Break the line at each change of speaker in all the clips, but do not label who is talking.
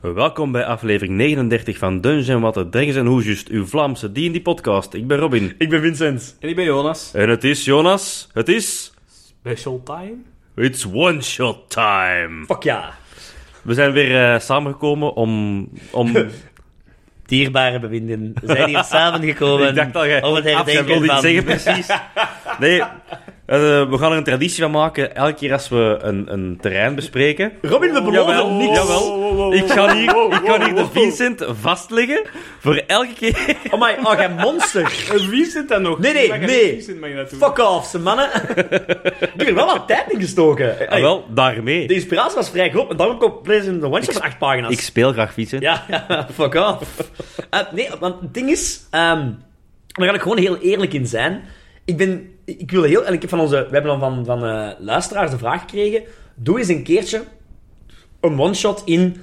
Welkom bij aflevering 39 van Dungeons en Watten, Drengs en Hoesjust, uw Vlaamse D&D-podcast. Ik ben Robin.
Ik ben Vincent.
En ik ben Jonas.
En het is, Jonas, het is...
Special time?
It's one-shot time.
Fuck ja.
We zijn weer eh, samengekomen om... om
Dierbare bewinden zijn hier samengekomen
Ik dacht al, jij
om het
af, jij
herdenken
wilde
van...
iets zeggen, precies. Nee, eh, we gaan er een traditie van maken. Elke keer als we een, een terrein bespreken...
Robin, we beloven
Jawel,
niks.
jawel. Ik ga hier, ik ga hier de Vincent vastleggen voor elke keer...
Oh my, oh, jij monster.
Wie zit dat nog?
Nee, nee,
Mag je-
nee.
Wie zit mag je naartoe?
Fuck off, ze mannen. Ik heb er wel wat tijd in gestoken.
Ah, wel,
De
daarmee.
inspiratie was vrij groot, maar daarom komt Pleasant de One-Shot van acht pagina's.
Ik speel graag Vincent.
Ja, ja, fuck off. Eh, nee, want het ding is, ehm daar ga ik gewoon heel eerlijk in zijn. Ik ben, ik wil heel, en ik heb van onze, we hebben dan van, van eh, luisteraars de vraag gekregen, doe eens een keertje een one-shot in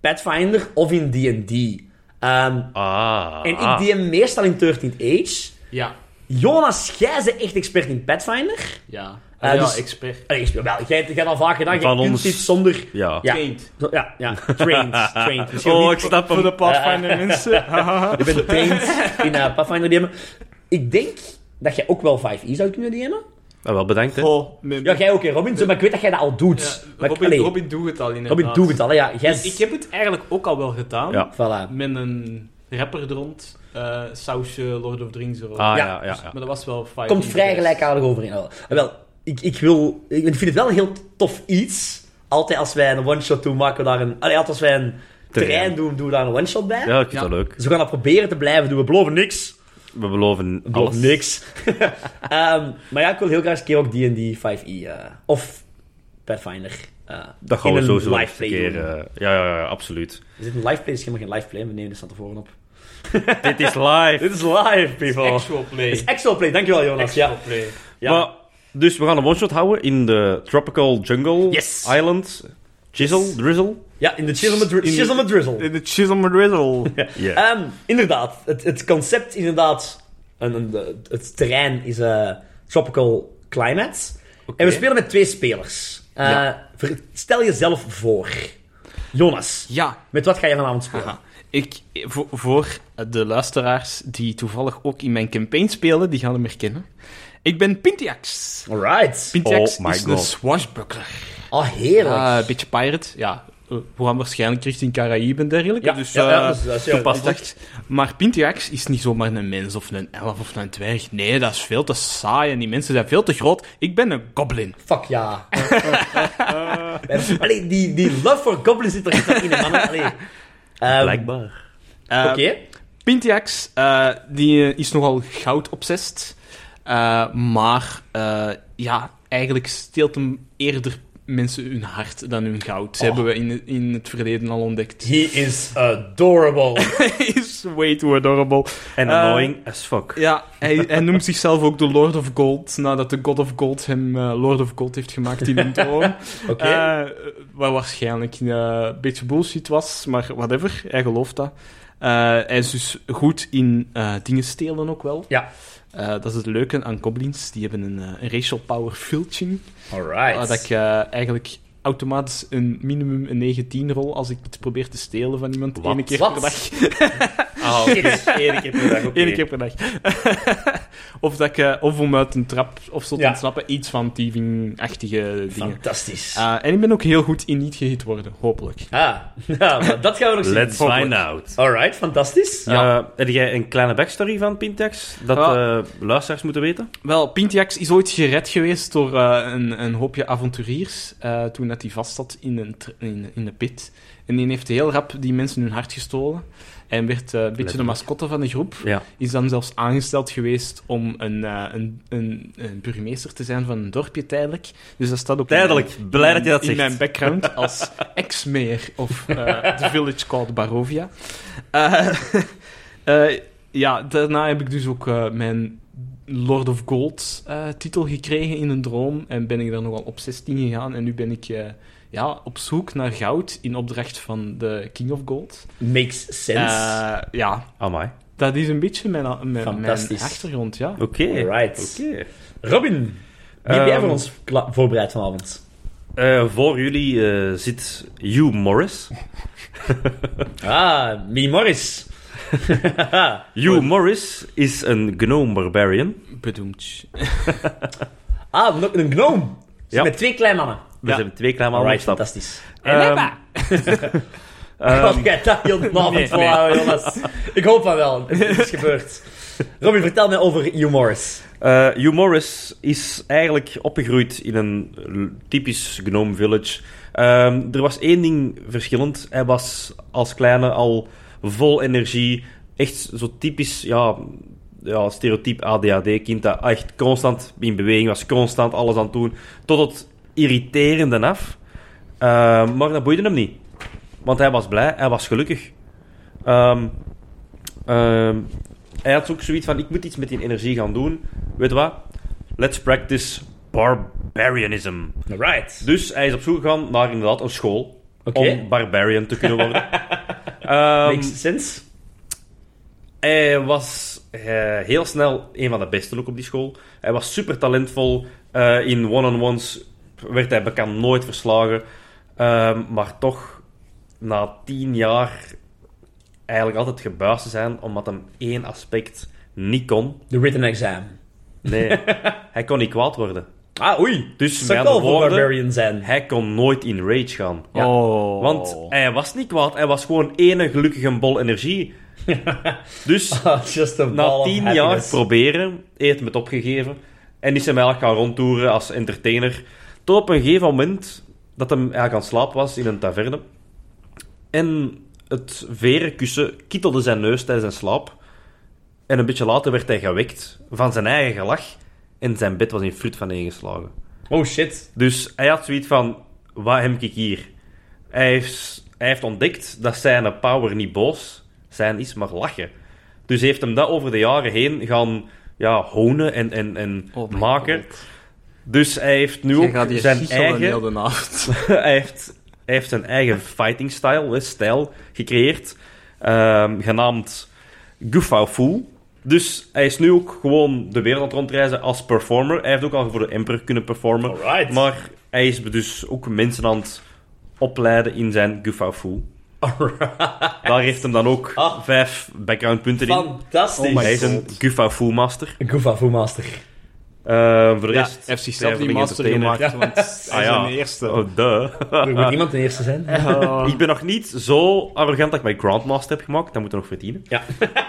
Pathfinder of in D&D. Ehm,
Ah.
en ik die hem meestal in 13th Age.
Ja.
Jonas, jij bent echt expert in Pathfinder.
Ja.
Eh,
Ah, ja,
dus-
expert.
Allee, je speelt wel, jij hebt het al vaak gedaan, jij
Van
kunt
ons.
dit zonder...
Ja.
Ja.
Trained.
Zo- Ja, ja, trained, trained. Misschien
Oh,
niet-
ik snap
Voor de
hem.
Pathfinder mensen.
Je bent trained in eh, Pathfinder DM'en. Ik denk dat jij ook wel 5e zou kunnen DM'en.
Ah, wel bedankt, hè.
Oh, nee.
Ja, jij ook, hè, Robin. Zo, Maar ik weet dat jij dat al doet.
Ja,
Maar ik-
Robin,
allee,
Robin doet het al inderdaad.
Robin, doe het al. hè, Ja, jij...
Ik heb het eigenlijk ook al wel gedaan.
Ja.
Voilà.
Met een rapper er rond. eh, sausje Lord of the Rings erop.
Ah, ja,
Ja.
ja, ja.
Maar dat was wel fijn.
Komt vrij gelijkaardig overeen. Wel, wel ik, ik, wil, ik vind het wel een heel tof iets. Altijd als wij een one-shot doen, maken we daar een... Allee, altijd als wij een terrein,
Terrein.
doen, doen we daar een one-shot bij.
Ja, ik vind
Ja.
dat leuk.
Dus we gaan dat proberen te blijven doen. We beloven niks.
We beloven
We
alles.
beloven niks. Ehm, maar ja, ik wil heel graag eens een keer ook D&D 5e eh, of Pathfinder. eh,
Dat gaan
in
we
een
sowieso nog
live
eens een
play
keer...
doen.
eh, ja, ja, ja, absoluut.
Er zit een live play, er is helemaal geen live play, we nemen dit van tevoren op.
Dit is live.
Dit is live, people. Het
Actual play.
is actual play, dankjewel Jonas.
Actual
Ja.
play.
Ja.
Maar, dus we gaan een one-shot houden in de Tropical Jungle
Yes.
Island. Chisel, drizzle.
ja, in de Chisel met, dri-
In-
Chisel met Drizzle.
In de Chisholm Riddle.
Ja.
Ehm, inderdaad, het, het concept inderdaad, en, en de- het terrein is eh, tropical climate. En we spelen met twee spelers. Eh,
Ja.
ver- stel jezelf voor. Jonas,
Ja,
met wat ga je vanavond spelen?
Aha. Ik, voor, voor de luisteraars die toevallig ook in mijn campaign spelen, die gaan hem herkennen. Ik ben Pintiax.
Alright.
Pintiax
Oh my
is
God.
een swashbuckler.
Oh, heerlijk.
Ah, een beetje pirate, ja. Eh, We gaan waarschijnlijk richting Caraïben en dergelijke.
ja,
dus,
ja,
eh,
ja, dat is- dat is- ja,
ik dacht, maar Pintiax is niet zomaar een mens of een elf of een dwerg. Nee, dat is veel te saai en die mensen zijn veel te groot. Ik ben een goblin.
Fuck ja. Allee, die, die love for goblins zit er echt wel in, hè, mannen. Allee. Ehm,
Blijkbaar.
Eh,
Oké.
Pintiax, eh, die eh, is nogal goud-obsessed. Eh, maar eh, ja, eigenlijk steelt hem eerder mensen hun hart dan hun goud. Dat
Oh.
hebben we in, in het verleden al ontdekt.
He is adorable.
Hij is way too adorable.
En
Eh,
annoying as fuck.
Ja, hij, hij noemt zichzelf ook de Lord of Gold, nadat de God of Gold hem eh, Lord of Gold heeft gemaakt in een droom.
Oké.
Eh, wat waarschijnlijk eh, een beetje bullshit was, maar whatever, hij gelooft dat. Eh, hij is dus goed in eh, dingen stelen ook wel.
Ja.
Eh, dat is het leuke aan goblins, die hebben een, eh, een racial power filching.
Alright.
Dat ik eh, eigenlijk automatisch een minimum een 19 rol als ik iets probeer te stelen van iemand.
Wat?
Eén keer
Wat?
per dag. oh,
Ah, oké. Eén keer per dag, oké.
Eén keer per dag. of, dat ik, eh, of om uit een trap of zo te
Ja.
ontsnappen, iets van thieving-achtige dingen.
Fantastisch.
Eh, en ik ben ook heel goed in niet gehit worden, hopelijk.
ah, ja, maar dat gaan we nog zien.
Let's find out.
Alright, fantastisch.
Ja.
Eh, heb jij een kleine backstory van Pintex dat
Ja.
eh, luisteraars moeten weten?
Wel, Pintiax is ooit gered geweest door eh, een, een hoopje avonturiers. eh, toen dat hij vast zat in, een tr- in, in de pit. En die heeft heel rap die mensen hun hart gestolen. En werd eh, een beetje de
Letterlijk.
mascotte van de groep.
Ja.
Is dan zelfs aangesteld geweest om een, eh, een, een, een burgemeester te zijn van een dorpje tijdelijk. Dus dat staat ook in
Tijdelijk.
mijn-
Blij dat je dat
in
zegt.
mijn background als ex-mayor of eh The Village Called Barovia. Eh, eh, ja, daarna heb ik dus ook eh, mijn Lord of Gold eh, titel gekregen in een droom. En ben ik dan nogal op 16 gegaan. En nu ben ik eh, ja, op zoek naar goud in opdracht van de King of Gold.
Makes sense.
Eh, ja,
Amai.
Dat is een beetje mijn, mijn- mijn,
Fantastisch.
achtergrond, ja.
Oké.
Right.
Oké.
Robin, wie heb jij
Ehm,
voor ons kla- voorbereid vanavond?
Eh, voor jullie eh, zit Hugh Morris.
Ah, Minnie Morris.
Hugh Morris is een gnome barbarian.
Bedoemd.
ah, nog een gnome. Dus
Ja.
Met twee kleine mannen.
We
Ja.
hebben twee kleine mannen
Alright,
op stap.
fantastisch.
Ehm,
Ik
ehm,
had jij dat heel de avond
nee.
volhouden, Jonas. Ik hoop van wel. Het is gebeurd. Robin, vertel mij over Hugh Morris.
Eh, Hugh Morris is eigenlijk opgegroeid in een l- typisch gnome village. Ehm, er was één ding verschillend. Hij was als kleine al vol energie. Echt zo typisch, ja, ja stereotyp ADHD-kind. Dat echt constant in beweging was, constant alles aan het doen. Tot het irriterende af. Ehm, maar dat boeide hem niet. Want hij was blij, hij was gelukkig. Ehm, ehm, hij had ook zoiets van, ik moet iets met die energie gaan doen. Weet je wat? Let's practice barbarianism.
Alright.
Dus hij is op zoek gegaan naar inderdaad een school.
Oké.
Om barbarian te kunnen worden. Ehm,
Makes sense.
hij was eh, heel snel een van de besten ook op die school. Hij was super talentvol. Eh, in one-on-ones werd hij bekend nooit verslagen. Ehm, maar toch, na tien jaar eigenlijk altijd gebuist te zijn, omdat hem één aspect niet kon.
The written exam.
Nee, hij kon niet kwaad worden.
Ah, oei.
Dus
Zou ik
met
wel
andere
voor
woorden-
barbarian zijn.
Hij kon nooit in rage gaan.
Oh.
Want hij was niet kwaad, hij was gewoon ene gelukkige bol energie. Dus
Ah, just a ball
na
of
tien jaar
happiness.
proberen, heeft met opgegeven. En is hem eigenlijk gaan rondtoeren als entertainer. Tot op een gegeven moment dat hem eigenlijk aan het slaap was in een taverne. En het veren kussen kittelde zijn neus tijdens zijn slaap. En een beetje later werd hij gewekt van zijn eigen gelach. En zijn bed was in frut van geslagen.
Oh shit.
Dus hij had zoiets van: wat heb ik hier? Hij heeft, hij heeft ontdekt dat zijn power niet boos zijn is, maar lachen. Dus heeft hem dat over de jaren heen gaan ja, honen en, en, en
Oh my
maken.
God.
Dus hij heeft nu
Jij
ook
gaat hier
zijn
giechelen
eigen
heel de avond.
hij, heeft, hij heeft zijn eigen fighting style, hè, stijl gecreëerd, ehm, genaamd Gufao Fu. Dus hij is nu ook gewoon de wereld aan het rondreizen als performer. Hij heeft ook al voor de Emperor kunnen performen.
Alright.
Maar hij is dus ook mensen aan het opleiden in zijn Gufao Fu. Daar heeft hem dan ook
Ah.
vijf backgroundpunten in.
Fantastisch.
Oh my
Hij is een Gufao Fu master.
Een Goofa Foo Master.
Ehm, voor de
Ja,
rest...
heeft zichzelf
hij
die
wordt
master
entertainer.
gemaakt, want hij
Ah,
is
ja.
een eerste.
Oh, duh.
Er moet niemand de eerste zijn. Oh.
Ik ben nog niet zo arrogant dat ik mijn Grandmaster heb gemaakt. Dat moet er nog verdienen.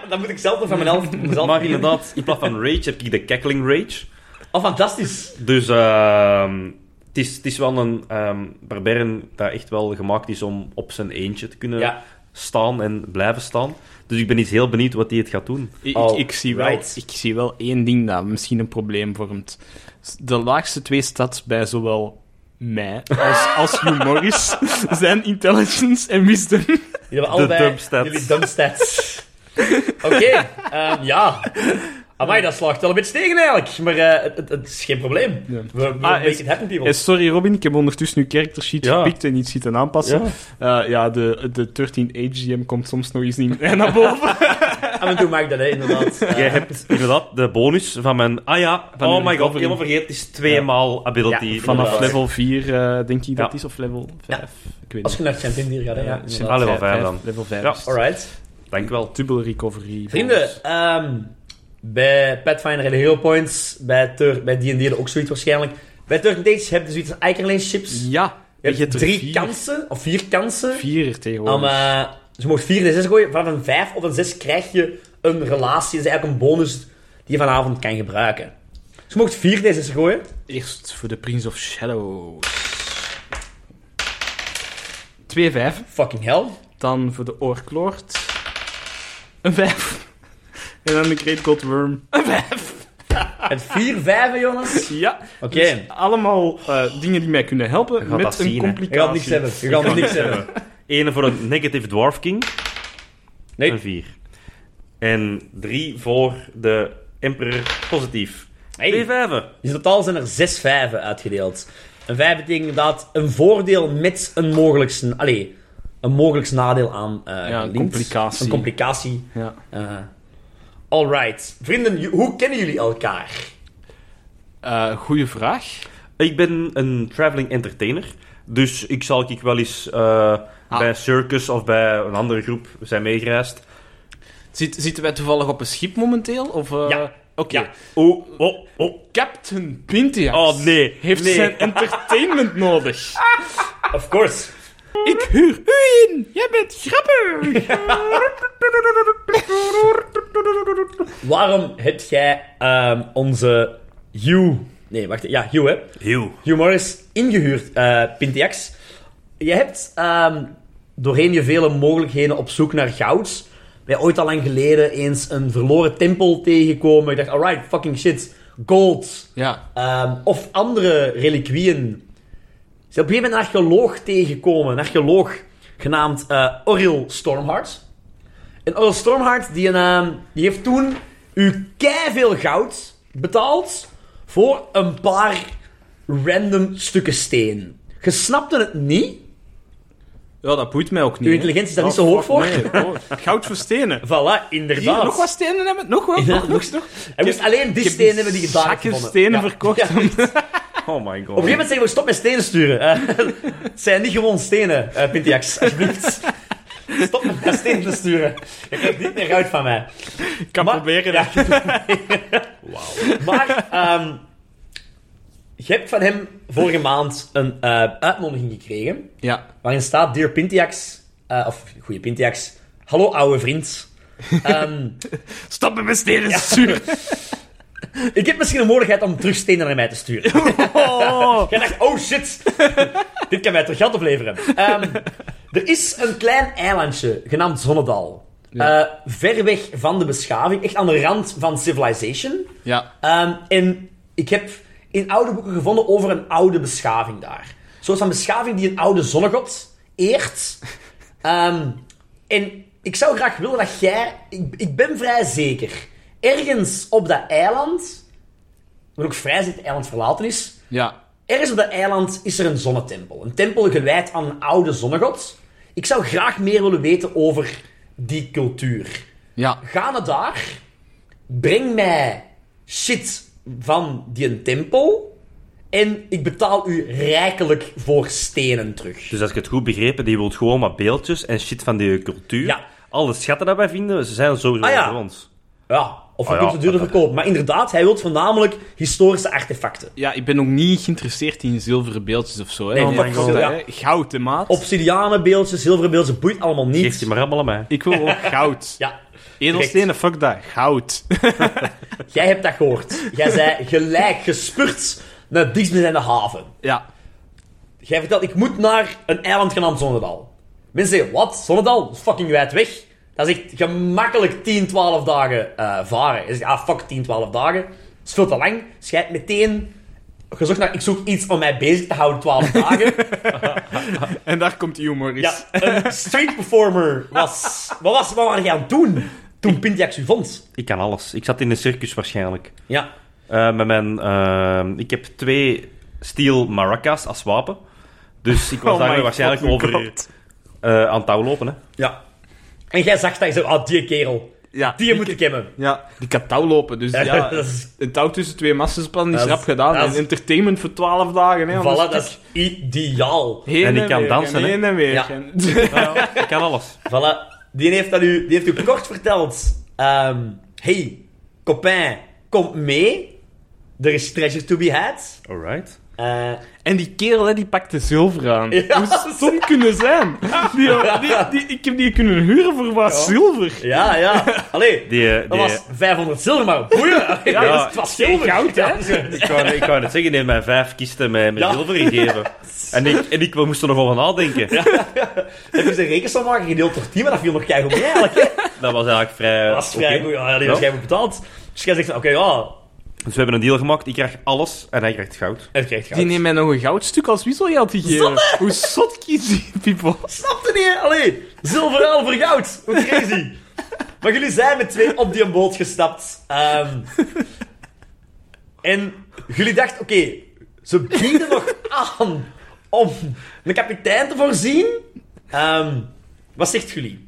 Dan moet ik zelf nog van mijn helft mezelf
Maar
beginnen.
inderdaad, in plaats van Rage heb ik de Cackling Rage.
Oh, fantastisch.
Dus ehm, het, is, het is wel een ehm barbaren dat echt wel gemaakt is om op zijn eentje te kunnen
Ja.
staan en blijven staan. Dus ik ben niet heel benieuwd wat hij het gaat doen.
Ik,
All
ik, zie wel,
right.
ik zie wel één ding dat misschien een probleem vormt. De laagste twee stads bij zowel mij als, als Hugh Morris zijn intelligence en wisdom.
Jullie hebben allebei
dumpstats.
jullie dumpstats. Oké, ehm, ja. Amai, dat slaagt wel een beetje tegen eigenlijk. Maar eh, het, het- het is geen probleem.
Ja.
We, we
Ah,
make
is-
it happen, people.
Eh, sorry Robin, ik heb ondertussen uw character sheet
Ja.
gepikt en iets zitten aanpassen. Ja, ja de, de 13 HGM komt soms nog eens niet meer naar boven.
Af en toe maak ik dat, hè, inderdaad. Eh,
Jij hebt inderdaad de bonus van mijn... Ah ja,
Van uw
oh my god,
recovery.
helemaal vergeten. Het is tweemaal ability.
Ja,
Vanaf
inderdaad.
Inderdaad.
level 4, eh, denk ik dat
Ja.
is, of level 5. Ik weet
Als je
niet.
naar het champion hier gaat, hè, ja.
Ja,
inderdaad.
Ah, level vijf
vijf,
dan.
Level 5.
Ja.
Alright.
Dank u wel.
Dubbel recovery.
Vrienden, ehm, bij Pathfinder en Hero Points, bij Tur- bij D&D hadden ook zoiets waarschijnlijk. Bij Turk Dates heb je zoiets als Icon Relationships.
Ja,
Je hebt
er
drie
vier.
kansen, of vier kansen.
Vier
Om,
tegenwoordig.
eh, ze mogen vier en zes gooien. Van een vijf of een zes krijg je een relatie. Dat is eigenlijk een bonus die je vanavond kan gebruiken. Ze mogen vier en zes gooien.
Eerst voor de Prince of Shadows. 2-5.
Fucking hell.
Dan voor de Oorklord. Een 5. En dan de Great God Worm.
Het vier vijven, Jonas.
Ja.
Oké.
Dus allemaal eh, dingen die mij kunnen helpen
gaat dat
met een
zien, hè.
Je gaat niks
complicatie.
hebben. Je gaat niks hebben.
Eén voor een Negative Dwarf King.
Nee.
Een 4. En 3 voor de Emperor positief.
Hey.
Twee vijven.
Dus in totaal zijn er zes vijven uitgedeeld. Een vijf betekent inderdaad een voordeel met een mogelijk... sn- Allee, een mogelijk nadeel aan eh
Ja, een
gelinkt.
complicatie.
Een complicatie.
Ja.
eh, Alright. Vrienden, ju- hoe kennen jullie elkaar?
Eh goeie vraag.
Ik ben een traveling entertainer. Dus ik zal ik wel eens eh,
Ah.
bij Circus of bij een andere groep zijn meegereisd.
Zit, zitten wij toevallig op een schip momenteel? Of, eh,
Ja.
Oké.
Ja.
Oh, oh, oh.
Captain Pintias
Oh, nee.
heeft
Nee.
zijn entertainment nodig.
Of course.
Ik huur u in. Jij bent grappig.
Waarom heb jij ehm, onze Hugh... Nee, wacht. Ja, Hugh, hè.
Heel.
Hugh Morris ingehuurd, eh Pintiax. Je hebt ehm, doorheen je vele mogelijkheden op zoek naar goud. Wij ooit al lang geleden eens een verloren tempel tegengekomen. Ik dacht, alright, fucking shit. Gold.
ja.
Ehm, of andere reliquieën. Ze zijn op een gegeven moment een archeoloog tegengekomen. Een archeoloog genaamd eh Oril Stormheart. En Oril Stormheart die, een, ehm, die heeft toen u veel goud betaald voor een paar random stukken steen. Je snapte het niet.
Ja, dat boeit mij ook niet.
Uw
hè.
intelligentie is daar
Oh,
niet zo hoog
fuck,
voor.
nee. Oh, goud voor stenen.
Voilà,
Hier,
inderdaad.
nog wat stenen hebben? Nog wel?
Ja,
nog, nog, nog.
Hij moest alleen die stenen hebben die je daar hebt
zakken
gevonden.
stenen
Ja.
verkocht.
Ja.
Oh my god.
Op een gegeven moment zeggen we, stop met stenen sturen. Eh, het zijn niet gewoon stenen, eh Pintiax, alsjeblieft. Stop met mij stenen te sturen. Je krijgt niet meer uit van mij.
Ik kan
Maar-
proberen.
Ja.
hè.
Maar, ehm, je hebt van hem vorige maand een eh, uitnodiging gekregen,
ja.
waarin staat, Dear Pintiax, eh, of goeie Pintiax, hallo oude vriend. Ehm,
Stop met mijn stenen sturen.
ik heb misschien een mogelijkheid om terug stenen naar mij te sturen.
Oh.
Jij dacht, oh shit, dit kan mij toch geld opleveren. Ehm, er is een klein eilandje genaamd Zonnedal.
Ja.
Eh, ver weg van de beschaving, echt aan de rand van civilization.
Ja.
Ehm, en ik heb in oude boeken gevonden over een oude beschaving daar. Een soort van beschaving die een oude zonnegod eert. Ehm, en ik zou graag willen dat jij... Ik, ik ben vrij zeker. Ergens op dat eiland... Ik ben ook vrij zeker dat het eiland verlaten is.
Ja.
Ergens op dat eiland is er een zonnetempel. Een tempel gewijd aan een oude zonnegod. Ik zou graag meer willen weten over die cultuur.
Ja.
Ga naar daar. Breng mij shit van die tempel. En ik betaal u rijkelijk voor stenen terug.
Dus als ik het goed begrepen, die wilt gewoon wat beeldjes en shit van die cultuur.
Ja.
Alle schatten dat wij vinden, ze zijn sowieso
Ah, ja.
voor ons.
Ja, of je
Ah, ja,
kunt het duurder
dat-
verkopen. Maar inderdaad, hij wil voornamelijk historische artefacten.
Ja, ik ben ook niet geïnteresseerd in zilveren beeldjes of zo. Hè,
Nee,
want
nee,
dat
nee,
kost,
ja.
hè, Goud, hè, maat.
Obsidianen beeldjes, zilveren beeldjes, boeit allemaal
Geef
niet.
die maar allemaal aan mij.
Ik wil ook goud.
Ja,
Edelstenen, fuck dat. Goud.
jij hebt dat gehoord. Jij zei gelijk gespurt naar het dichtstbijzijnde haven.
ja.
Jij vertelt, ik moet naar een eiland genaamd Zonnedal. Mensen zeggen, wat? Zonnedal? Dat is Fucking wijd weg. Dat is echt gemakkelijk 10, 12 dagen eh, varen. Je zegt, ah fuck, 10, 12 dagen. Dat is veel te lang. Dus jij hebt meteen gezocht naar, ik zoek iets om mij bezig te houden 12 dagen.
En daar komt humor is.
ja, een street performer was... Wat, was, wat waren jij aan het doen toen Pintiax u vond?
Ik kan alles. Ik zat in een circus waarschijnlijk.
Ja.
Eh, met mijn, eh, ik heb twee steel maracas als wapen. Dus ik was
Oh
daar
my
waarschijnlijk
fucking
over
God.
eh, aan touw lopen. Hè.
Ja. En jij zag dat je zei, ah, die kerel.
Ja,
Die moet ik hebben.
Ja, die kan touw lopen. Dus ja,
Ja, dat is-
een touw tussen twee massen spannen is
Dat is-
rap gedaan.
dat is-
En entertainment voor twaalf dagen. Hè, anders
Voilà, dat is ideaal.
heen
En die kan
weer,
dansen,
En
hè.
heen en weer.
Ja.
En-
Ik kan alles.
Voilà, die heeft, dat u, die heeft u kort verteld. Ehm, hey, copain, kom mee. Er is treasure to be had.
Alright.
Eh,
en die kerel, hè, die pakte zilver aan.
Ja.
Hoe stom kunnen zijn? Die, die, die- ik heb die kunnen huren voor wat zilver.
ja, ja. Allee,
Die, eh,
dat
die-
was 500 zilver, maar boeien. Allee,
Ja,
dat
ja.
is- het was
Geen
zilver.
goud, hè?
eh, Ik wou, ik wou net zeggen, die heeft mij vijf kisten met, met
Ja.
zilver gegeven. En ik, en ik moest er nog over nadenken.
Heb je zijn rekensom maken gedeeld door 10, maar dat viel nog keigoed mee eigenlijk. hè.
Dat was eigenlijk vrij...
Dat was vrij
oké.
goed. Ja, die was
Ja.
jij betaald. Dus jij zegt, oké, ja,
Dus we hebben een deal gemaakt. Ik krijg alles en hij krijgt goud.
het krijgt goud.
Die neemt mij nog een goudstuk als wisselgeld gegeven. Hoe zot kies die people?
Snapte niet, hè? allee. Zilver, al voor goud. Hoe crazy. maar jullie zijn met twee op die boot gestapt. Ehm, en jullie dachten, oké, ze bieden nog aan om een kapitein te voorzien. Ehm, wat zegt jullie?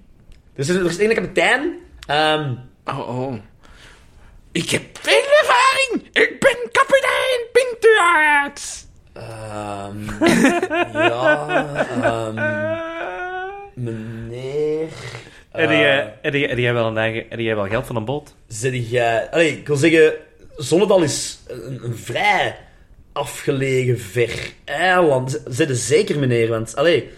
Dus er er is één kapitein. ehm,
Oh, oh. Ik heb veel ervaring! Ik ben kapitein Pintuart!
Ehm, ja, ehm,
Eh,
meneer.
Heb
eh,
jij- heb jij- heb jij wel een eigen- heb jij wel geld van een boot?
Zit jij... Allee, ik wil zeggen, Zonnedal is een, een vrij afgelegen ver eiland. Z- Zit er zeker, meneer, want... Allee,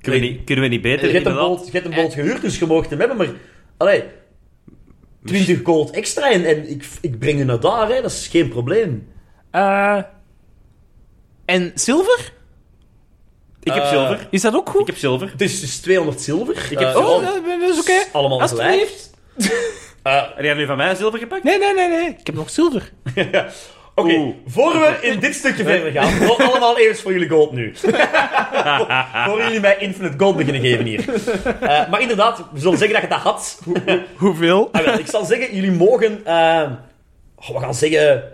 Kunnen we
Nee.
niet, kunnen we niet
je
beter?
hebt een
inderdaad?
boot, je hebt een boot gehuurd, dus je mocht hem hebben, maar... Allee, 20 gold extra en, en ik, ik breng je naar daar, hè, dat is geen probleem.
Eh, en zilver?
Ik heb
Eh,
zilver.
Is dat ook goed?
Ik heb zilver.
Het is dus 200 zilver.
Ik heb
Eh,
zilver.
oh,
ja,
dat, dat is oké.
is allemaal gelijk.
Alsjeblieft.
eh,
Heb jij nu van mij zilver gepakt?
Nee, nee, nee, nee. Ik heb nog zilver.
Oké,
Oeh.
voor we in dit stukje verder gaan, wel allemaal eerst voor jullie gold nu. voor jullie mij infinite gold beginnen geven hier. Eh, maar inderdaad, we zullen zeggen dat je dat had.
Hoeveel?
Ah, wel, ik zal zeggen, jullie mogen... eh, oh, we gaan zeggen...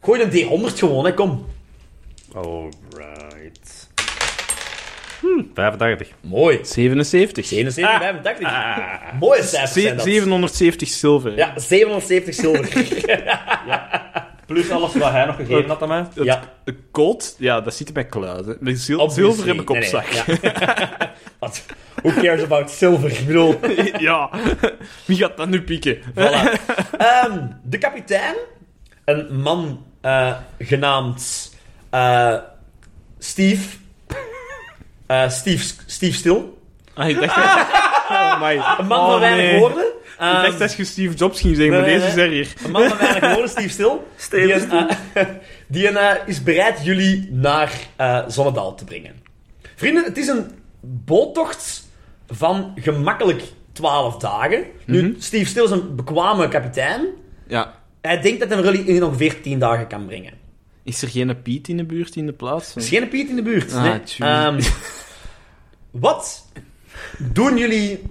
Gooi een D100 gewoon, hè, kom.
Alright. Hm, 85.
Mooi.
77.
71, 85.
Ah.
Mooie cijfers zijn
Ze-
dat.
770 zilver.
Ja, 770 zilver.
Plus alles wat hij nog gegeven had aan mij.
Het
Ja.
gold, ja, dat zit er bij kluizen. Met zil-
Obviously.
zilver heb ik op
Nee, nee,
zak.
ja. Wat? Who cares about silver? Ik bedoel...
ja. Wie gaat dat nu pieken?
Voilà. Ehm, de kapitein, een man eh, genaamd eh, Steve. Eh, Steve, Steve Stil.
Ah, ik dacht... Oh, my.
Een man van weinig woorden. Ehm,
Ik dacht dat je Steve Jobs ging zeggen, maar
Nee, nee,
deze is
nee.
er hier.
Een man van weinig woorden, Steve Stil. Die, een, eh, die een, eh, is bereid jullie naar eh Zonnedal te brengen. Vrienden, het is een boottocht van gemakkelijk 12 dagen. Nu,
Mhm.
Steve Stil is een bekwame kapitein.
Ja.
Hij denkt dat hij jullie in ongeveer 10 dagen kan brengen.
Is er geen Piet in de buurt, in de plaats?
Er is geen Piet in de buurt.
Ah,
nee.
tjoe.
Ehm, wat doen jullie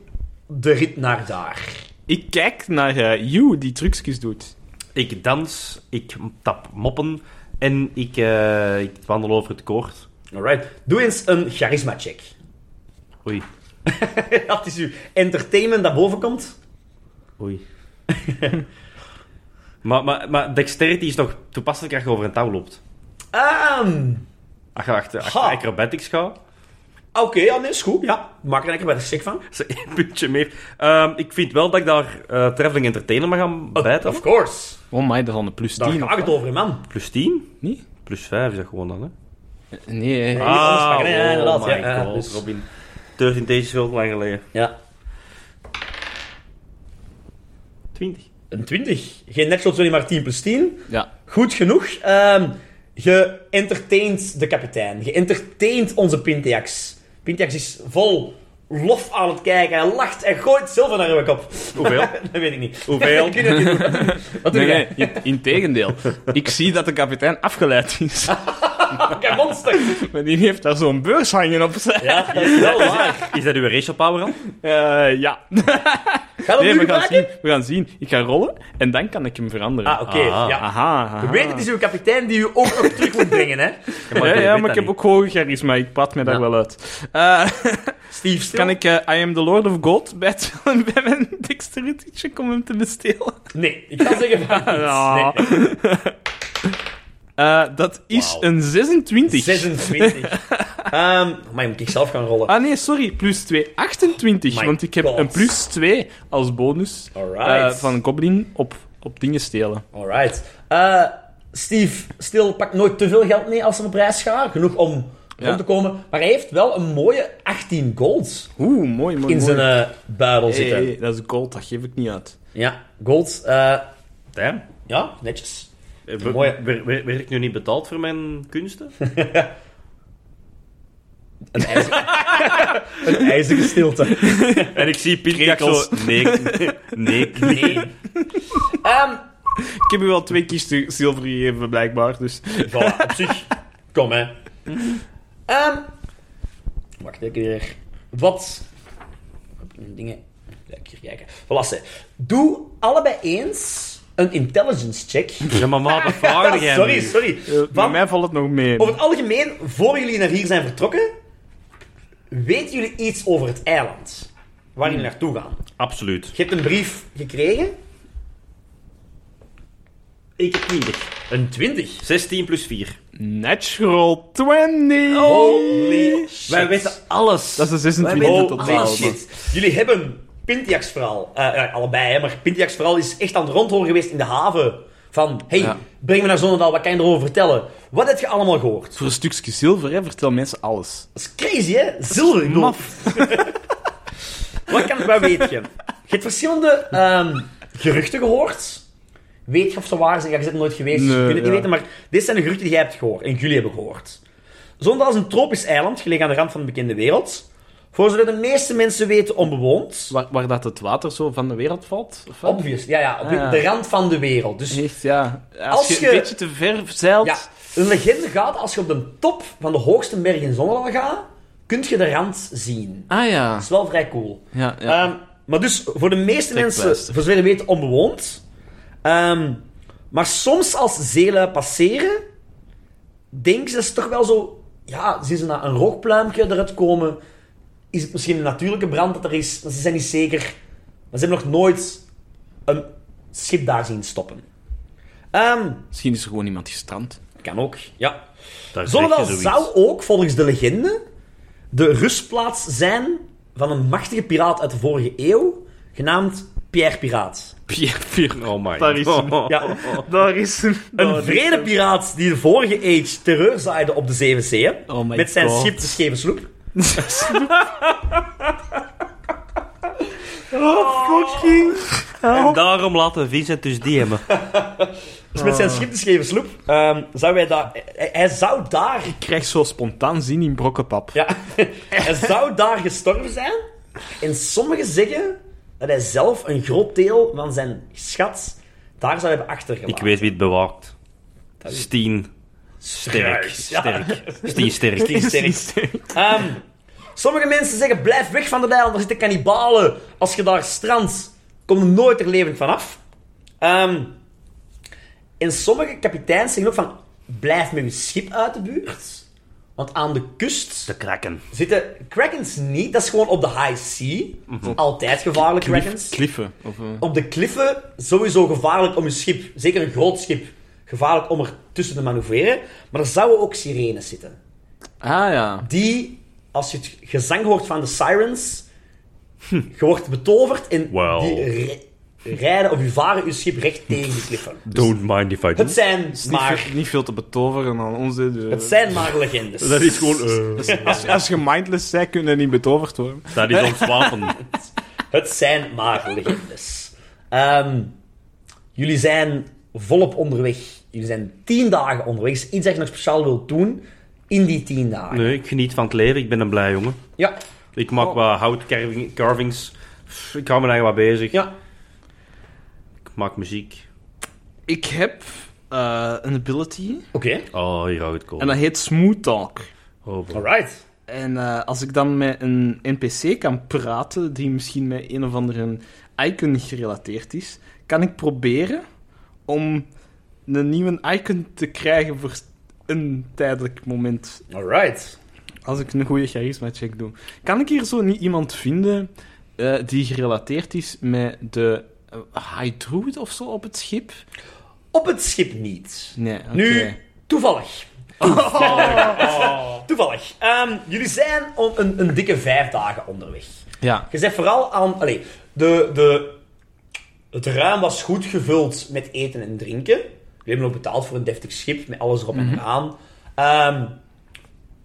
de rit naar daar?
Ik kijk naar eh You, die trucjes doet.
Ik dans, ik tap moppen en ik, eh, ik wandel over het koord.
Alright. Doe eens een charisma check.
Oei,
dat is uw entertainment dat boven komt.
oei. maar, maar, maar dexterity is nog toepasselijk als je over een touw loopt.
Ehm,
Als je achter, achter
Ha.
acrobatics gaat,
Oké, ja, nee, is goed. Ja, maak er lekker bij de check van.
is er één puntje meer. Ehm, ik vind wel dat ik daar eh traveling entertainer mag gaan
Oh,
bijten.
Of course.
Oh my, dat is al een plus
Daar
10.
gaat het over, man.
Plus 10?
Niet?
Plus 5 is dat gewoon dan, hè?
Nee.
Ah, pakken, hè, inderdaad,
oh my
ja.
god,
Ja, dus-
Robin. 13 days is heel lang geleden.
Ja.
20.
Een 20. Geen natural 20, maar 10 plus 10.
Ja.
Goed genoeg. Ehm je entertaint de kapitein. Je entertaint onze Pintiax. Pintiax is vol lof aan het kijken. Hij lacht en gooit zilver naar uw kop.
Hoeveel?
dat weet ik niet.
Hoeveel?
Ik weet het niet. Wat doe- Wat doe
Nee,
jij?
nee, in- integendeel. Ik zie dat de kapitein afgeleid is.
Jij monster.
Maar die heeft daar zo'n beurs hangen op zijn.
Ja, dat is wel waar.
Is dat uw racial power al?
Eh, ja.
Ga dat
Nee,
nu
we gaan,
gebruiken?
zien, we gaan zien. Ik ga rollen en dan kan ik hem veranderen.
Ah, oké.
Ah,
ja.
Aha. aha.
We weten, het is uw kapitein die u ook nog terug moet brengen, hè.
Ja,
ik weet
ja,
dat
maar ik heb
niet.
ook hoge charisma. Ik praat me daar
Ja.
wel uit. Eh,
Steve Stil.
kan ik eh, I am the lord of gold bijtellen bij mijn dexterity check om hem te bestelen?
Nee, ik kan zeggen van niets.
Ja.
Nee.
Eh, dat is
Wauw.
een 26.
26. Ehm maar moet ik zelf gaan rollen?
Ah nee, sorry, plus 2, 28.
My
want ik heb
God.
een plus 2 als bonus
Alright.
eh, van Goblin op, op dingen stelen.
Alright. Eh, Steve Stil pakt nooit te veel geld mee als er op reis gaat. Genoeg om
Ja.
rond te komen. Maar hij heeft wel een mooie 18 golds
Oeh, mooi, mooi, mooi.
in zijn eh buidel
Hey,
zitten.
hey, dat is gold, dat geef ik niet uit.
Ja, gold. eh,
Damn.
ja, netjes.
Eh, we-
Mooi.
we- we- Werd ik nu niet betaald voor mijn kunsten?
Een ijzige, een ijzige stilte.
En ik zie Piet Jack zo... Nee, nee, nee.
Nee. Ehm,
Ik heb u al twee kisten zilver gegeven, blijkbaar. Dus.
Voilà, op zich. Kom, hè. Ehm, wacht even weer. Wat? Dingen. Ja, ik hier kijken. Voilà, hè. Doe allebei eens een intelligence check.
Ja, maar maat, wat vraag jij
sorry,
nu?
sorry.
Eh, Bij
Want
mij valt het nog mee.
over het algemeen, voor jullie naar hier zijn vertrokken, weten jullie iets over het eiland waar jullie naartoe gaan.
Absoluut.
Je hebt een brief gekregen
Ik heb 20.
Een 20.
16 plus 4.
Natural 20!
Oh. Holy shit.
Wij weten alles.
Dat is een
Wij
26
weten
totaal.
alles, shit. Jullie hebben Pintiax vooral. eh, eh, allebei, hè, maar Pintiax vooral is echt aan het rondhoren geweest in de haven. Van, hey,
Ja.
breng me naar Zonnedaal, wat kan je erover vertellen? Wat heb je allemaal gehoord?
Voor een stukje zilver hè, vertel mensen alles.
Dat is crazy, hè? Zilver, ik bedoel. Wat kan wat weet je? Je hebt verschillende ehm, geruchten gehoord. Weet je of ze waar zijn? Ja, je bent er nooit geweest, dus je
Nee,
kunt het niet
ja.
weten. Maar dit zijn de geruchten die jij hebt gehoord en jullie hebben gehoord. Zondag is een tropisch eiland, gelegen aan de rand van de bekende wereld. Voor zodat de meeste mensen weten, onbewoond.
Waar, waar dat het water zo van de wereld valt? Of wat?
Obvious, ja, ja, op de-
Ah, ja.
de rand van de wereld. Dus
Echt, ja. Als,
Als
je
je-
een beetje te ver zeilt...
ja, een legende gaat, als je op de top van de hoogste berg in Zonneland gaat, kun je de rand zien.
Ah ja.
Dat is wel vrij cool.
ja, ja.
Ehm, maar dus voor de meeste mensen,
Trekpleister.
voor zover we weten, onbewoond. Ehm, maar soms als zeelui passeren, denken ze dat ze toch wel zo... Ja, zien ze na een rookpluimpje eruit komen. Is het misschien een natuurlijke brand dat er is? Maar ze zijn niet zeker. Maar ze hebben nog nooit een schip daar zien stoppen. Ehm,
Misschien is er gewoon iemand gestrand.
kan ook, ja.
Daar
Zonneval
zeg je zoiets.
zou ook, volgens de legende, de rustplaats zijn van een machtige piraat uit de vorige eeuw, genaamd Pierre Piraat.
Pierre Pierre.
Oh my.
Daar is hem.
Ja,
Daar is hem.
een vrede piraat die de vorige age terreur zaaide op de Zeven Zeeën,
Oh my
met zijn
God.
schip de Scheve Sloep.
Fucking...
En daarom laten Vincent dus DM'en.
Dus met
Ah.
zijn schip de Scheve Sloep ehm, zou hij daar... Hij, hij zou daar...
Ik krijg zo spontaan zin in brokkenpap.
Ja, hij zou daar gestorven zijn. En sommigen zeggen dat hij zelf een groot deel van zijn schat daar zou hebben achtergelaten.
Ik weet wie het bewaakt. Steen. Sterk.
Juist, ja.
Sterk. Steen sterk.
Steen sterk. Ehm, sommige mensen zeggen, blijf weg van de dijk, want daar zitten kannibalen. Als je daar strandt, kom je nooit er levend vanaf. Ehm, en sommige kapiteins zeggen ook van, blijf met je schip uit de buurt. Want aan de kust
De kraken.
zitten krakens niet. Dat is gewoon op de high sea. Altijd gevaarlijk krakens.
Kliffen. Of, eh,
Op de kliffen sowieso gevaarlijk om een schip, zeker een groot schip, gevaarlijk om er tussen te manoeuvreren. Maar er zouden ook sirenes zitten
Ah ja.
die, als je het gezang hoort van de sirens, je wordt betoverd en
Wow.
die ri- rijden of je varen je schip recht tegen die kliffen.
Don't mind if I do.
Het zijn
Is niet,
maar,
veel, niet veel te betoveren aan onze... de-
het zijn maar legendes.
Dat is gewoon... eh,
eh. Dus Als, als je mindless bent, kun je niet betoverd worden.
dat is ons wapen.
Het zijn maar legendes. Ehm, jullie zijn volop onderweg. Jullie zijn tien dagen onderweg. Is iets dat je nog speciaal wilt doen in die tien dagen.
Nee, ik geniet van het leven. Ik ben een blij jongen.
Ja,
Ik maak
Oh.
wat houtcarving- carvings. Pff, Ik hou me daar wat bezig.
ja.
Ik maak muziek.
Ik heb eh, een ability.
Oké,
Oh, hier houdt het
En
komen.
dat heet Smooth Talk.
Oh, boy.
alright.
En eh, als ik dan met een NPC kan praten, die misschien met een of andere icon gerelateerd is, kan ik proberen om een nieuwe icon te krijgen voor een tijdelijk moment.
Alright.
Als ik een goede charisma check doe. Kan ik hier zo niet iemand vinden eh, die gerelateerd is met de eh, High Druid of zo op het schip?
Op het schip niet.
Nee, oké.
Nu, toevallig. Toevallig. Ehm, jullie zijn om een, een dikke vijf dagen onderweg.
Ja.
Je bent vooral aan... Allee, de, de, het ruim was goed gevuld met eten en drinken. We hebben ook betaald voor een deftig schip met alles erop en eraan. Ehm,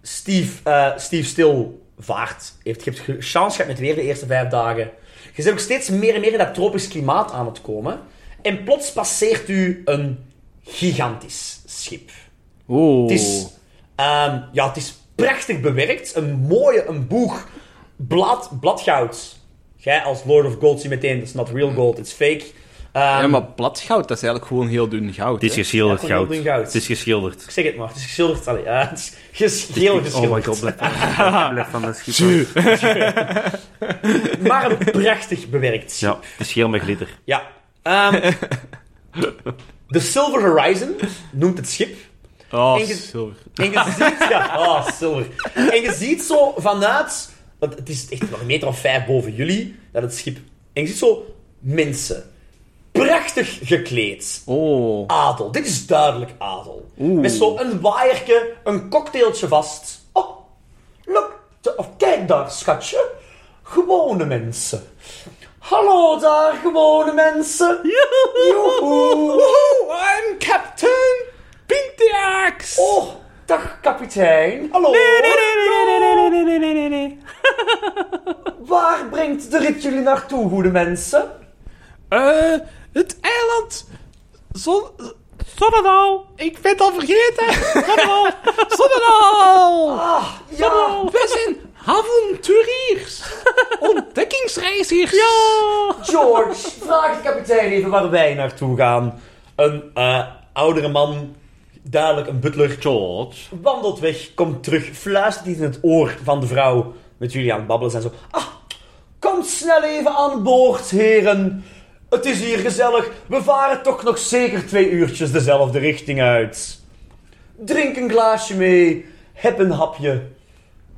Steve, eh, Steve Stil vaart. Heeft, je hebt ge- chance gehad met weer de eerste vijf dagen. Je bent ook steeds meer en meer in dat tropisch klimaat aan het komen. En plots passeert u een gigantisch schip.
Oh.
Het is, ehm, ja, het is prachtig bewerkt. Een mooie, een boeg. Blad, bladgoud. Jij als Lord of Gold ziet meteen, dat is not real gold, it's fake. Ehm,
Ja, maar bladgoud, dat is eigenlijk gewoon heel dun goud.
Het is
hè?
geschilderd
Ja, gewoon
goud.
heel dun goud.
Het is geschilderd.
Ik zeg het maar, het is geschilderd. Allee, ja, het is geschilderd.
Oh my
geschilderd.
god, blijf van, blijf van de schipper.
maar een prachtig bewerkt schip.
Ja, het is geel met glitter.
Ja. Ehm, de Silver Horizon noemt het schip.
Oh,
Eén ge-
zilver.
En je ziet... Ja, oh, silver. En je ziet zo vanuit... Want het is echt nog een meter of vijf boven jullie, dat het schip... En je ziet zo mensen. prachtig gekleed.
Oh.
Adel, dit is duidelijk adel. Met zo'n waaierke, een cocktailtje vast. Oh, look, de- of kijk daar, schatje. Gewone mensen. Hallo daar, gewone mensen. Joehoe.
I'm Captain Pink the Axe!
Oh, dag kapitein. Hallo.
nee, nee, nee, nee, nee.
Waar brengt de rit jullie naartoe, goede mensen?
Eh, het eiland. Zon. Zonnedaal. Ik ben het al vergeten. Zonnedaal. Zonnedaal.
Ah, ja.
Zonnedaal. We zijn avonturiers. Ontdekkingsreizigers. Ja.
George, vraag de kapitein even waar wij naartoe gaan. Een eh, oudere man, duidelijk een butler,
George.
wandelt weg, komt terug, fluistert iets in het oor van de vrouw met jullie aan het babbelen zijn. Zo, ah, kom snel even aan boord, heren. Het is hier gezellig. We varen toch nog zeker twee uurtjes dezelfde richting uit. Drink een glaasje mee. Heb een hapje.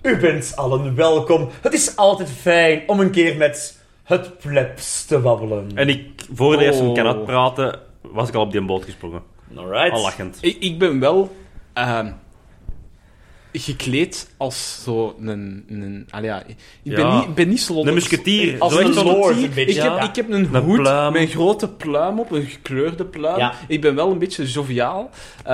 U bent allen welkom. Het is altijd fijn om een keer met het plebs te babbelen.
En ik, voor de eerste
Oh.
kan uitpraten, was ik al op die boot gesprongen. Al
Alright.
lachend.
Ik, ik ben wel ehm, gekleed als zo'n. Een, een, allee, ja, ik ben,
Ja.
niet, ben niet zo
Een musketier.
Als
Zo
een
echt zo'n-
lord,
musketier.
een beetje,
Ik, heb,
ja.
ik heb een
Een
hoed
pluim.
met een grote pluim op, een gekleurde pluim.
Ja.
Ik ben wel een beetje joviaal. Eh,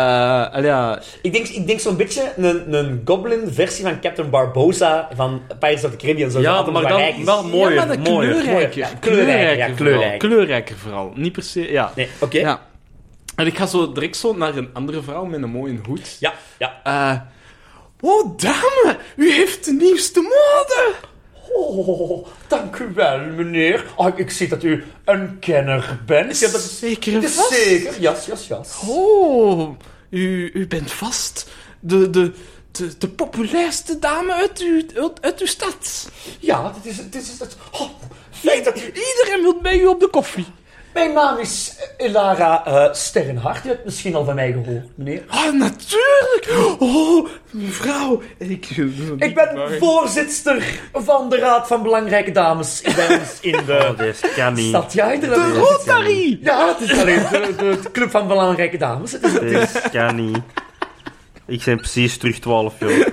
allee, ja,
Ik denk, ik denk zo'n beetje een, een goblin-versie van Captain Barbosa van Pirates of the Caribbean. Zo
Ja, maar dan wel mooier.
Ja, maar dat
mooier.
kleurrijker.
Ja, kleurrijker, ja,
Vooral.
kleurrijker.
Kleurrijker vooral. Niet per se, ja.
Nee, oké. Ja.
ja. En ik ga zo direct zo naar een andere vrouw met een mooie hoed.
ja,
Eh, oh, dame, u heeft de nieuwste mode.
Oh, dank u wel, meneer. Ah, ik zie dat u een kenner bent. Ja, dat is,
zeker
dat is
vast.
zeker. Jas, jas, jas.
Oh, u, u bent vast de, de, de, de populairste dame uit, uw uit, uit uw stad.
Ja, dit is... Dit is dat, oh, fijn dat u...
Iedereen wil bij u op de koffie.
Mijn naam is Elara eh Sterrenhart. U hebt misschien al van mij gehoord, meneer.
Ah, natuurlijk. Oh, mevrouw. Ik,
Ik ben voorzitter van de Raad van Belangrijke Dames bij ons in de
Oh, dit kan niet.
stad. Ja, inderdaad.
De Rotary.
Ja, het is alleen de, de- de club van belangrijke dames. Het is- het is-
Dit kan niet. Ik ben precies terug 12 jaar.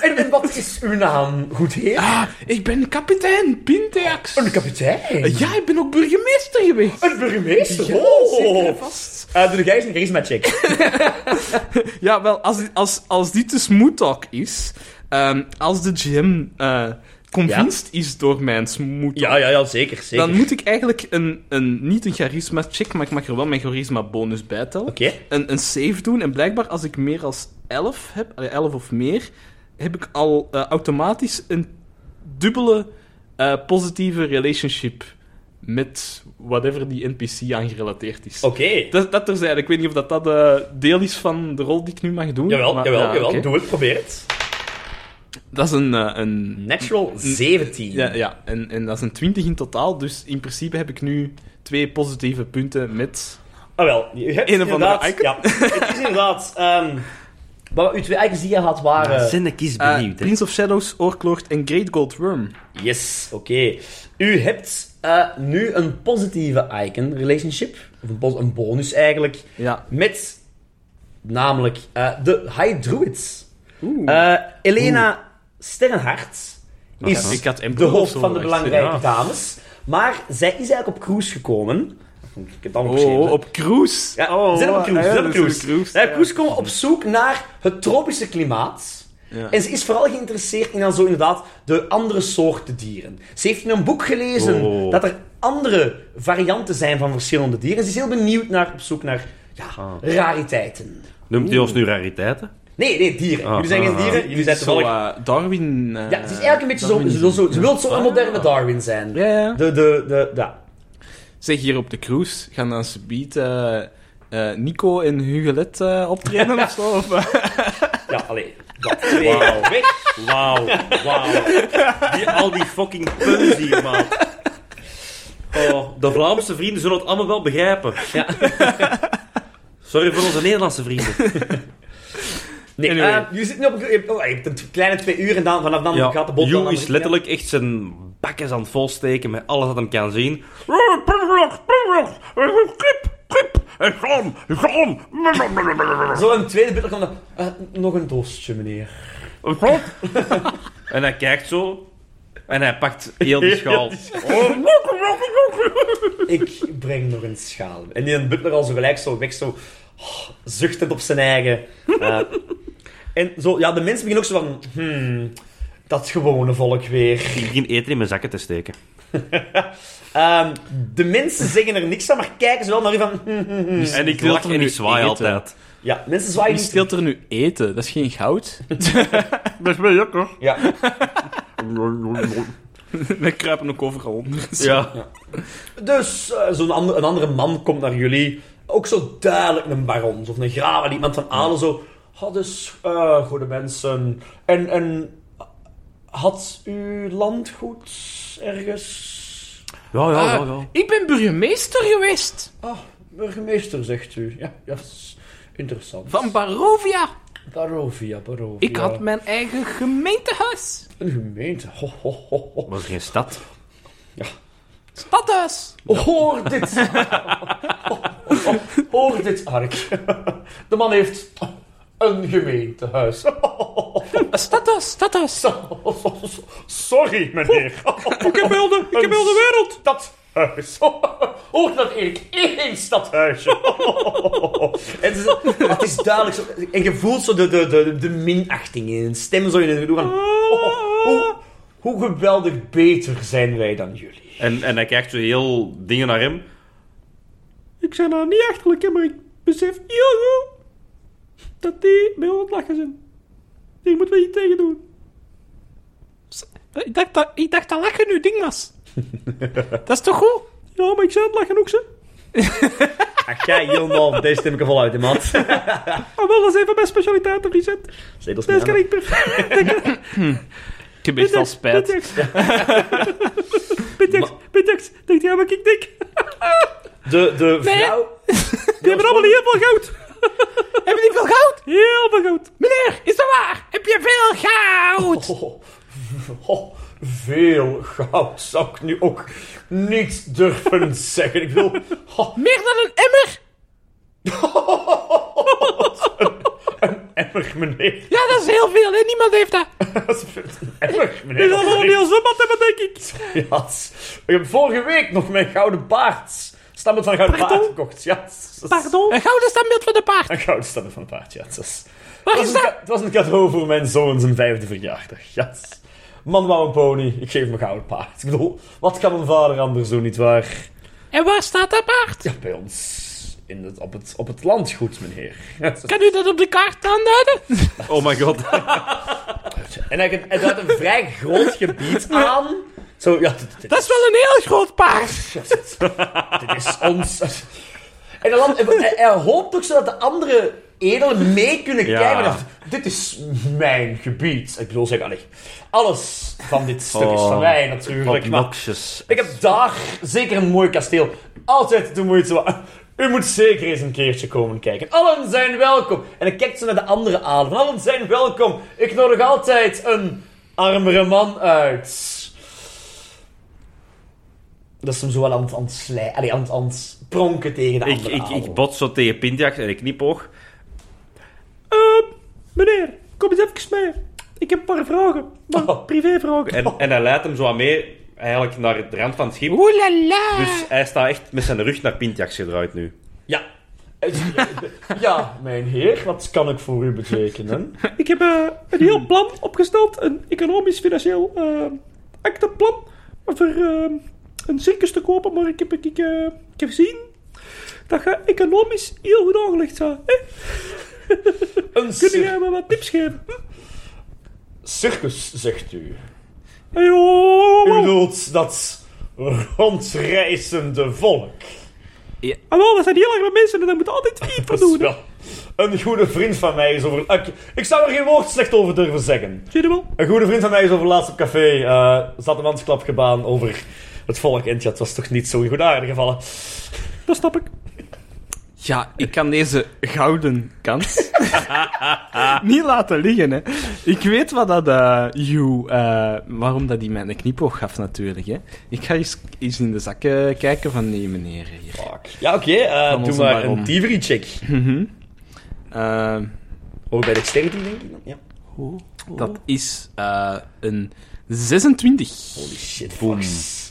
En, en wat is uw naam, goed heer?
Ah, ik ben kapitein Pintex.
Een Oh, kapitein.
Ja, ik ben ook burgemeester geweest.
Een burgemeester.
Ja, zeker en
oh.
vast.
Eh, doe jij eens een charisma-check.
Ja, wel, als, als, als dit dus moedtalk is, ehm, als de GM eh convinced is door mijn smoot
Ja, ja, ja, zeker, zeker.
dan moet ik eigenlijk een, een niet een charisma check, maar ik mag er wel mijn charisma bonus bij tellen.
Oké.
Een, een save doen en blijkbaar als ik meer als 11 heb, allee, 11 of meer, heb ik al eh, automatisch een dubbele eh, positieve relationship met whatever die NPC aan gerelateerd is.
Oké.
Dat, dat terzijde. Ik weet niet of dat, dat eh, deel is van de rol die ik nu mag doen.
Jawel,
maar-
jawel,
ja,
jawel.
oké.
Doe het, probeer het.
Dat is een... eh, een
Natural 17.
ja, ja. En, en dat is een 20 in totaal. Dus in principe heb ik nu twee positieve punten met...
Ah, wel. Je hebt
Een of andere
inderdaad-
icon.
Ja, het is inderdaad... ehm wat uw twee icons die je had waren...
Zin ik is
eh,
benieuwd. hè.
Prince of Shadows, Oorkloord en Great Gold Worm.
Yes, oké. U hebt eh, nu een positieve icon relationship. Of een, pos- een bonus eigenlijk.
Ja.
Met namelijk eh, de High Druids.
Oeh.
Eh, Elena Sterrenhart is
Ik had Emperor
de hoofd
of zo
van de
verwacht,
belangrijke
ja.
dames. Maar zij is eigenlijk op cruise gekomen. Ik heb het allemaal
Oh,
geschreven.
op cruise.
Ja,
oh,
ze zijn op cruise.
ja,
ze zijn
dat is
op
een
cruise.
cruise,
Ze zijn op
ja.
cruise komen op zoek naar het tropische klimaat.
Ja.
En ze is vooral geïnteresseerd in dan zo inderdaad de andere soorten dieren. Ze heeft in een boek gelezen
Oh.
dat er andere varianten zijn van verschillende dieren. Ze is heel benieuwd naar, op zoek naar ja,
Ah.
rariteiten.
Noemt u ons nu rariteiten?
Nee, nee, dieren.
Ah,
jullie zijn geen
ah, ah.
dieren, jullie zijn
Zo,
toevallig...
eh, Darwin... eh,
ja, het is eigenlijk een beetje zo...
Darwinisme.
zo, zo ze wil zo'n
Ah.
moderne Darwin zijn.
Ja, ja.
De, de, de, ja.
Zeg, hier op de cruise gaan dan subiet eh, eh, Nico en Hugelet eh, optreden of zo? Of, eh?
Ja, allee. Dat twee.
Wauw.
Weg.
Wauw, wauw. Die- Al die fucking puns hier, man. Oh, de Vlaamse vrienden zullen het allemaal wel begrijpen.
Ja.
Sorry voor onze Nederlandse vrienden.
Nee,
Anyway.
eh, jullie zitten nu op... Je hebt, oh, je hebt een t- kleine twee uur en dan, vanaf dan gaat de bot...
Joe is letterlijk echt zijn bakkes aan het volsteken met alles wat hem kan zien. Pimblok, Pimblok, Krip, krip, zon, zon.
Zo een tweede beeld komt dan... eh, nog een doosje, meneer.
En hij kijkt zo. En hij pakt heel die schaal. Oh,
Ik breng nog een schaal. En die butler al zo gelijk zo weg, zo... oh, zuchtend op zijn eigen. eh. en zo, ja, de mensen beginnen ook zo van... Hmm, dat gewone volk weer.
Ik begin eten in mijn zakken te steken.
Ehm, de mensen zeggen er niks van, maar kijken ze wel naar u van... hmm, hmm, hmm.
En ik
wilt
lach
hem
en
nu
ik zwaai
eten.
altijd.
Ja, mensen zwaaien
Wie
niet.
steelt er nu eten? Dat is geen goud.
Dat is wel lekker.
Ja.
We kruipen ook overal onder.
Ja.
Dus eh, zo'n ander, een andere man komt naar jullie. Ook zo duidelijk een baron of een graaf, iemand van adel. Zo, oh, dus eh, goede mensen. En, en had u landgoed ergens?
Ja, ja, ja.
Eh, ik ben burgemeester geweest
Ah, burgemeester, zegt u. Ja, ja, is interessant.
van Barovia.
Barovia, Barovia.
Ik had mijn eigen gemeentehuis.
Een gemeente. Ho, ho, ho, ho.
Was er geen stad?
Stadhuis.
Hoor dit! Hoor dit, Ark. De man heeft een gemeentehuis.
Stadhuis, stadhuis.
Sorry, meneer.
Ik heb wel de, ik
Oh, heb heel de
wereld.
Stadhuis. Ook dat Erik één stadhuisje. en ze- het is duidelijk zo. En je voelt zo de, de, de, de minachting in een stem zo in een gedoe van... hoe, hoe geweldig beter zijn wij dan jullie.
En, en hij kijkt zo heel dingen naar hem. Ik zijn daar niet achterlijk in, maar ik besef heel goed dat die bij ons lachen zijn. Hier moeten we iets tegen doen.
Ik dacht dat, ik dacht dat lachen nu ding was. dat is toch goed?
Ja, maar ik zei het Oh lachen ook, ze.
Ach, jij helemaal. Deze stem ik er voluit in, man.
Maar wel, dat is even mijn specialiteit, Vincent.
Zetels
Dat kan ik perfect.
Ik heb echt al spijt.
Pitex. Pitex, Pitex. Denkt hij aan wat ik denk?
De, de vrouw...
Die hebben allemaal heel veel goud.
Hebben die veel goud?
Heel veel goud.
Meneer, is dat waar? Heb je veel goud?
Oh, v- oh, veel goud zou ik nu ook niet durven zeggen. Ik wil... oh,
Meer dan een emmer?
oh, emmer, meneer.
Ja, dat is heel veel, hè? Niemand heeft dat.
Dat is een emmer,
Die
meneer.
zal allemaal heel zwembad hebben, denk ik.
Ja, ik heb vorige week nog mijn gouden baard... Standbeeld van een gouden
Pardon?
paard gekocht. Ja, dat is-
Een gouden standbeeld van de paard.
Een gouden standbeeld van een paard, ja. dat is-
Waar
Het
is dat?
was, een, ka- het was een cadeau voor mijn zoon zijn vijfde verjaardag. Ja, het is- Man wou een pony, ik geef hem een gouden paard. Ik bedoel, wat kan een vader anders doen, nietwaar?
En waar staat dat paard?
Ja, bij ons in het, op, het, op het landgoed, meneer.
Kan u dat op de kaart aanduiden?
Oh my god.
En hij, hij duidt een vrij groot gebied aan. Zo, ja, dit, dit-
Dat is wel een heel groot paard.
dit is ons. En hij, land- hij, hij hoopt ook zo dat de andere edelen mee kunnen
Ja.
kijken. Dat, dit is mijn gebied. Ik bedoel, zeg, allee, alles van dit stuk is van
Oh,
mij natuurlijk. maar-
Obnoxious.
Ik heb daar zeker een mooi kasteel. Altijd de moeite waard. U moet zeker eens een keertje komen kijken. Allen zijn welkom. En ik kijk zo naar de andere adem. Allen zijn welkom. Ik nodig altijd een armere man uit. Dat is hem zo wel aan het, aan het slij... Allee, aan het, aan het pronken tegen de
Ik,
andere
ik, ik
adel.
bots zo tegen Pindjak en ik knipoog. Ehm, meneer, kom eens even mee. Ik heb een paar vragen. Maar
Oh.
privévragen. En, en hij leidt hem zo aan mee, eigenlijk naar de rand van het schip.
Oeh la la.
Dus hij staat echt met zijn rug naar Pindjaks gedraaid nu.
Ja. Ja, mijn heer. Wat kan ik voor u betekenen?
Ik heb eh, een
Hmm.
heel plan opgesteld, een economisch-financieel eh, acteplan, voor eh, een circus te kopen, maar ik heb, ik, ik, eh, ik heb gezien dat je economisch heel goed aangelegd zou. Eh,
Een
kun
cir-
jij me wat tips geven? Hm?
circus, zegt u.
Hey, oh,
U
oh, oh.
bedoelt dat rondreizende volk.
Hallo, Ah, dat zijn heel erg mensen en daar moet altijd iets voor
Dat is
doen. hè.
wel- Een goede vriend van mij is over... Ik, ik zou er geen woord slecht over durven zeggen.
Zie je wel?
Een goede vriend van mij is over laatst op café... eh zat een mansklap gebaan over het volk. En ja, het was toch niet zo in goed aarde gevallen.
Dat snap ik.
Ja, ik kan deze gouden kans niet laten liggen. Hè. Ik weet wat dat eh you, eh, waarom dat hij mij een knipoog gaf natuurlijk. Hè. Ik ga eens, eens in de zakken kijken van die meneer hier.
Fuck. Ja, oké. eh,
Van
doe
onze
maar
baron.
een thievery check.
Mhm. Eh,
Ook bij dexterity, denk ik dan. Ja.
dat is eh, een 26.
Holy shit,
Boom.
fucks.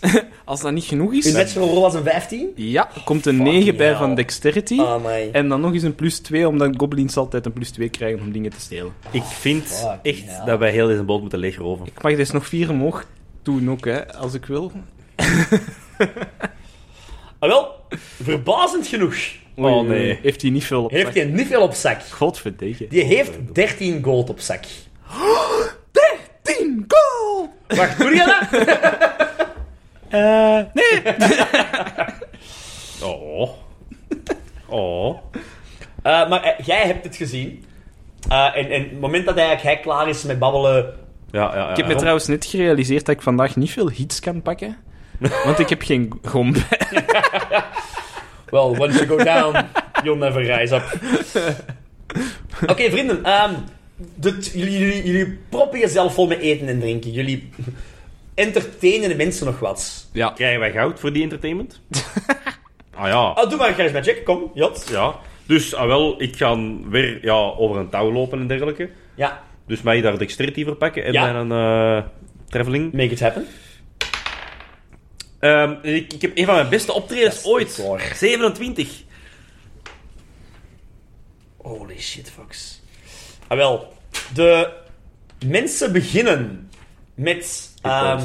Als dat niet genoeg
Uw
is,
wedstrijdrol was een 15?
ja, komt een
Fucking
9 bij
hell.
van dexterity.
Ah, my.
En dan nog eens een plus 2, omdat goblins altijd een plus 2 krijgen om dingen te stelen.
Ik vind
fuck,
echt
ja.
dat wij heel deze boot moeten leegroven.
Ik mag dus nog 4 omhoog doen ook, hè, als ik wil.
Ah, wel. Verbazend genoeg
Oh,
Oei,
nee.
Heeft hij niet veel op
heeft hij niet veel op zak.
Godverdegen.
Die heeft 13 gold op zak.
10 goal!
Wacht, doe je dat?
Oh. Oh.
Eh, maar eh, jij hebt het gezien. Eh, en, en het moment dat hij, eigenlijk hij klaar is met babbelen...
Ja, ja, ja.
Ik heb me trouwens net gerealiseerd dat ik vandaag niet veel hits kan pakken. Want ik heb geen gom bij.
Well, once you go down, you'll never rise up. Oké, vrienden. ehm, de t- jullie, jullie, jullie proppen jezelf vol met eten en drinken. Jullie entertainen de mensen nog wat.
Ja.
Krijgen wij goud voor die entertainment? ah ja.
Ah, doe maar een charisma check. Kom, Jot.
Ja. Dus, ah wel, ik ga weer ja, over een touw lopen en dergelijke.
Ja,
Dus mij daar dexterity voor pakken en
Ja.
dan een eh, traveling.
make it happen.
Ehm, ik, ik heb een van mijn beste optredens
Dat is
ooit.
echt waar.
27.
Holy shit, Fox. Ah, wel. De mensen beginnen met... ehm,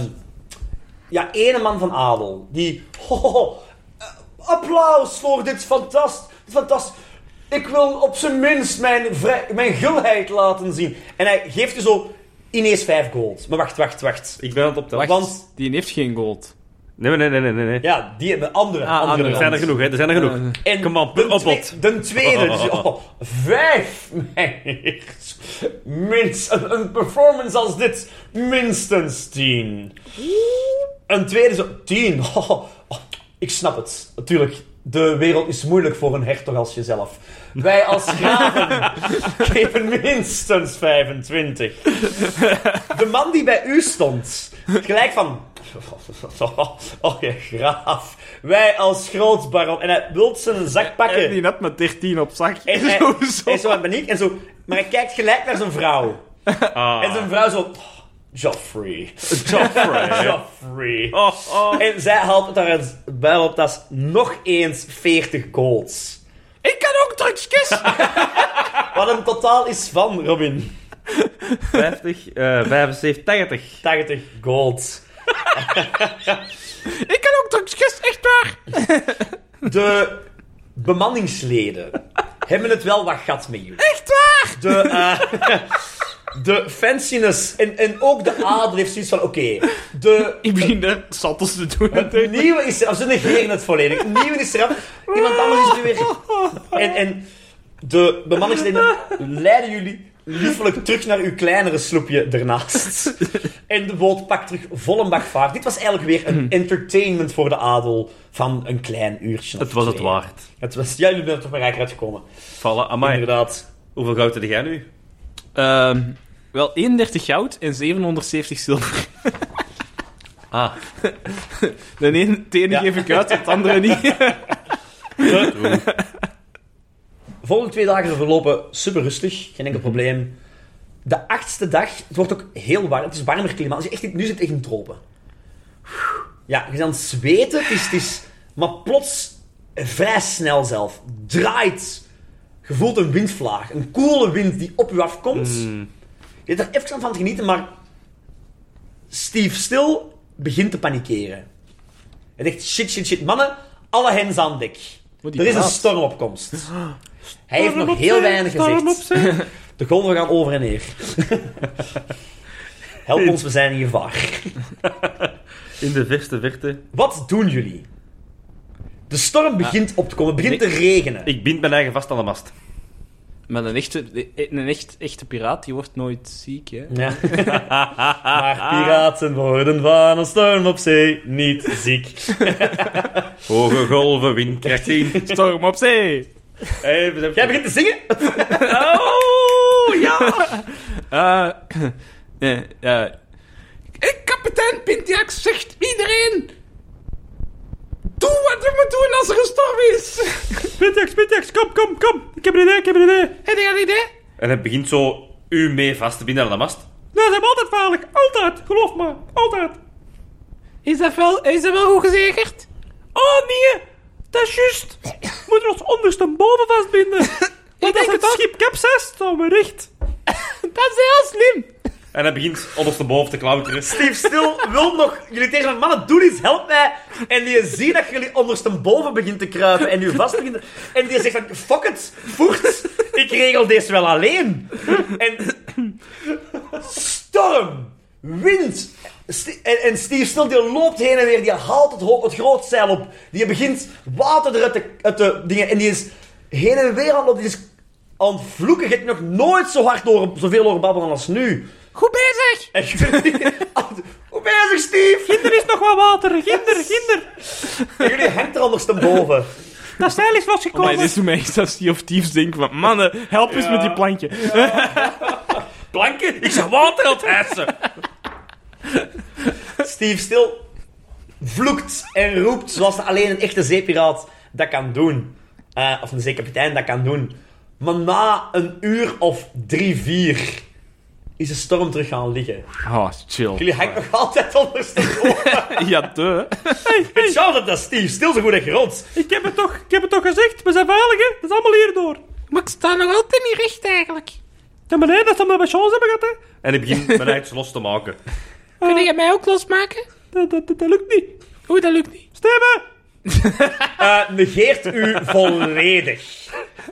ja, ene man van adel. Die... ho, ho, ho, eh, applaus voor dit fantast, fantast. Ik wil op zijn minst mijn, vrij- mijn gulheid laten zien. En hij geeft je zo ineens vijf gold. Maar wacht, wacht, wacht.
Ik ben aan het optellen.
Wacht,
Want-
die heeft geen gold.
Nee, nee, nee, nee, nee. nee.
Ja, die hebben andere.
Ah,
andere
andere.
Er zijn er genoeg, hè. Er zijn er genoeg.
Eh,
En
Kom op,
de,
op,
twee-
op.
de tweede, dus, oh, vijf meisjes. Minst, een, een performance als dit, minstens tien. Een tweede, zo, tien. Oh, oh, ik snap het, natuurlijk. De wereld is moeilijk voor een hertog als jezelf. Wij als graven geven minstens 25. De man die bij u stond, gelijk van. Oh, je graaf. Wij als grootbaron. En hij wil zijn zak
En
pakken.
die had maar 13 op zak.
En hij,
Sowieso.
hij is zo in paniek. En zo, maar hij kijkt gelijk naar zijn vrouw.
Ah.
En zijn vrouw zo. "Oh, Joffrey.
Joffrey.
Joffrey.
Oh, oh.
En zij haalt het haar bijl op. Dat is nog eens 40 golds.
Ik kan ook drugsjes!
Wat een totaal is van, Robin.
50, eh 75, 80.
80 golds.
ik kan ook drugsjes, echt waar!
De bemanningsleden hebben het wel wat gat met jullie.
Echt waar!
De, eh, de fanciness en, en ook de adel heeft zoiets van: oké, de.
Ik begin er sattels te doen.
Het nieuwe is eraf. Ze negeren het volledig. Het nieuwe is eraf. Iemand anders is er weer. En, en de bemanningsleden leiden jullie liefelijk terug naar uw kleinere sloepje ernaast. En de boot pakt terug vol een bak vaart. Dit was eigenlijk weer een
Hmm.
entertainment voor de adel van een klein uurtje. of
Het was het
twee.
waard.
Het was, ja, jullie zijn er toch maar rijker uitgekomen.
Vallen, amai.
Inderdaad.
Hoeveel goud heb jij nu?
Ehm, wel 31 goud en 770 zilver.
Ah.
De ene, het ene
Ja.
geef ik uit, het andere niet.
De volgende twee dagen verlopen super rustig, geen
Mhm.
enkel probleem. De achtste dag, het wordt ook heel warm, het is warmer klimaat. Dus je echt, nu zit het echt in tropen. Ja, je bent aan het zweten, het is, het is, maar plots, eh, vrij snel zelf, draait. Je voelt een windvlaag, een koele wind die op je afkomt.
Mhm.
Je hebt er even aan van te genieten, maar Steve Stil begint te panikeren. Hij zegt, shit, shit, shit, mannen, alle hens aan dek.
Oh, die
er is een
praat.
stormopkomst. Hij heeft nog heel weinig gezegd. De golven gaan over en neer. Help ons, we zijn in gevaar.
In de verste verte.
Wat doen jullie? De storm begint op te komen, het begint te regenen.
Ik bind mijn eigen vast aan de mast.
Maar een echte, een echt, echte piraat, die wordt nooit ziek, hè?
Ja. maar piraten worden van een storm op zee niet ziek.
Hoge golven, windkracht 10.
Storm op zee!
Hey, we zijn-
Jij begint te zingen?
Oh, ja! Eh, eh, eh, ik, kapitein Pintiak, zegt iedereen... Doe wat we moeten doen als er een storm is!
Spintex, Spintex, kom, kom, kom. Ik heb een idee, ik heb een idee.
Heb je dat idee?
En het begint zo u mee vast te binden aan de mast.
Dat is hem altijd vaarlijk. Altijd. Geloof me. Altijd. Is dat wel, is dat wel goed gezegerd? Oh nee. Dat is juist. We moeten ons ondersteboven vastbinden. Ik denk het schip capsized, dan we recht. dat is heel slim.
En hij begint ondersteboven te klauteren.
Steve Stil wil nog jullie tegen hem, mannen, doe iets, help mij. En die ziet dat jullie ondersteboven begint te kruipen en nu vast begint te- En die zegt van, fuck it, voert, ik regel deze wel alleen. En storm, wind. Sti- en, en Steve Stil die loopt heen en weer, die haalt het, ho- het grootzeil op. Die begint water eruit te, uit te dingen en die is heen en weer aan het lopen. Die is aan het vloeken. Je hebt nog nooit zo hard door, zoveel horen babbelen als nu.
Goed bezig.
En jullie... Hoe bezig, Steve?
Er is nog wat water. Ginder, ginder.
En jullie hangt er anders ten boven.
Dat zeil is
Maar
losgekomen.
Oh, dit is voor mij iets als die of Thieves denken van... Mannen, help eens met die plantje.
Planken, ik zeg water aan het hijsen.
Steve stil vloekt en roept zoals alleen een echte zeepiraat dat kan doen. Eh, of een zeekapitein dat kan doen. Maar na een uur of drie, vier is de storm terug gaan liggen.
Oh, chill.
Jullie hangt nog altijd ondersteboven.
Ja, duh.
Ik zou dat dat Steve stil zo goed heeft gerond.
Ik heb het toch, ik heb het toch gezegd. We zijn veilig, hè. Dat is allemaal hierdoor. Maar ik sta nog altijd niet recht, eigenlijk. Ja, maar nee, dat is omdat we chance hebben gehad, hè.
En hij begint mijn eigen los te maken.
Kun jij mij ook losmaken? Dat, dat, dat, dat lukt niet. Hoe dat lukt niet? Steven!
Eh, negeert u volledig.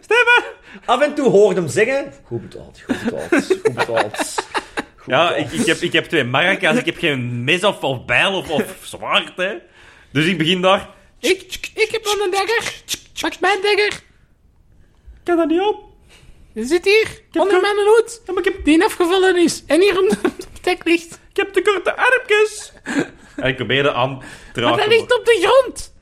Steven!
Af en toe hoort hem zeggen... Goed betaald, goed betaald, goed betaald. Goed
Ja,
betaald."
ik, ik, heb, ik heb twee maracas, ik heb geen mes of, of bijl of, of zwaard, hè. Dus ik begin daar...
Ik, ik heb al een dagger. Pak mijn dagger. Ik kan dat niet op. Je zit hier, onder mijn hoed. Die afgevallen is en hier op de dek ligt. Ik heb te korte armpjes.
En ik probeer dat aan te raken.
dat ligt op de grond.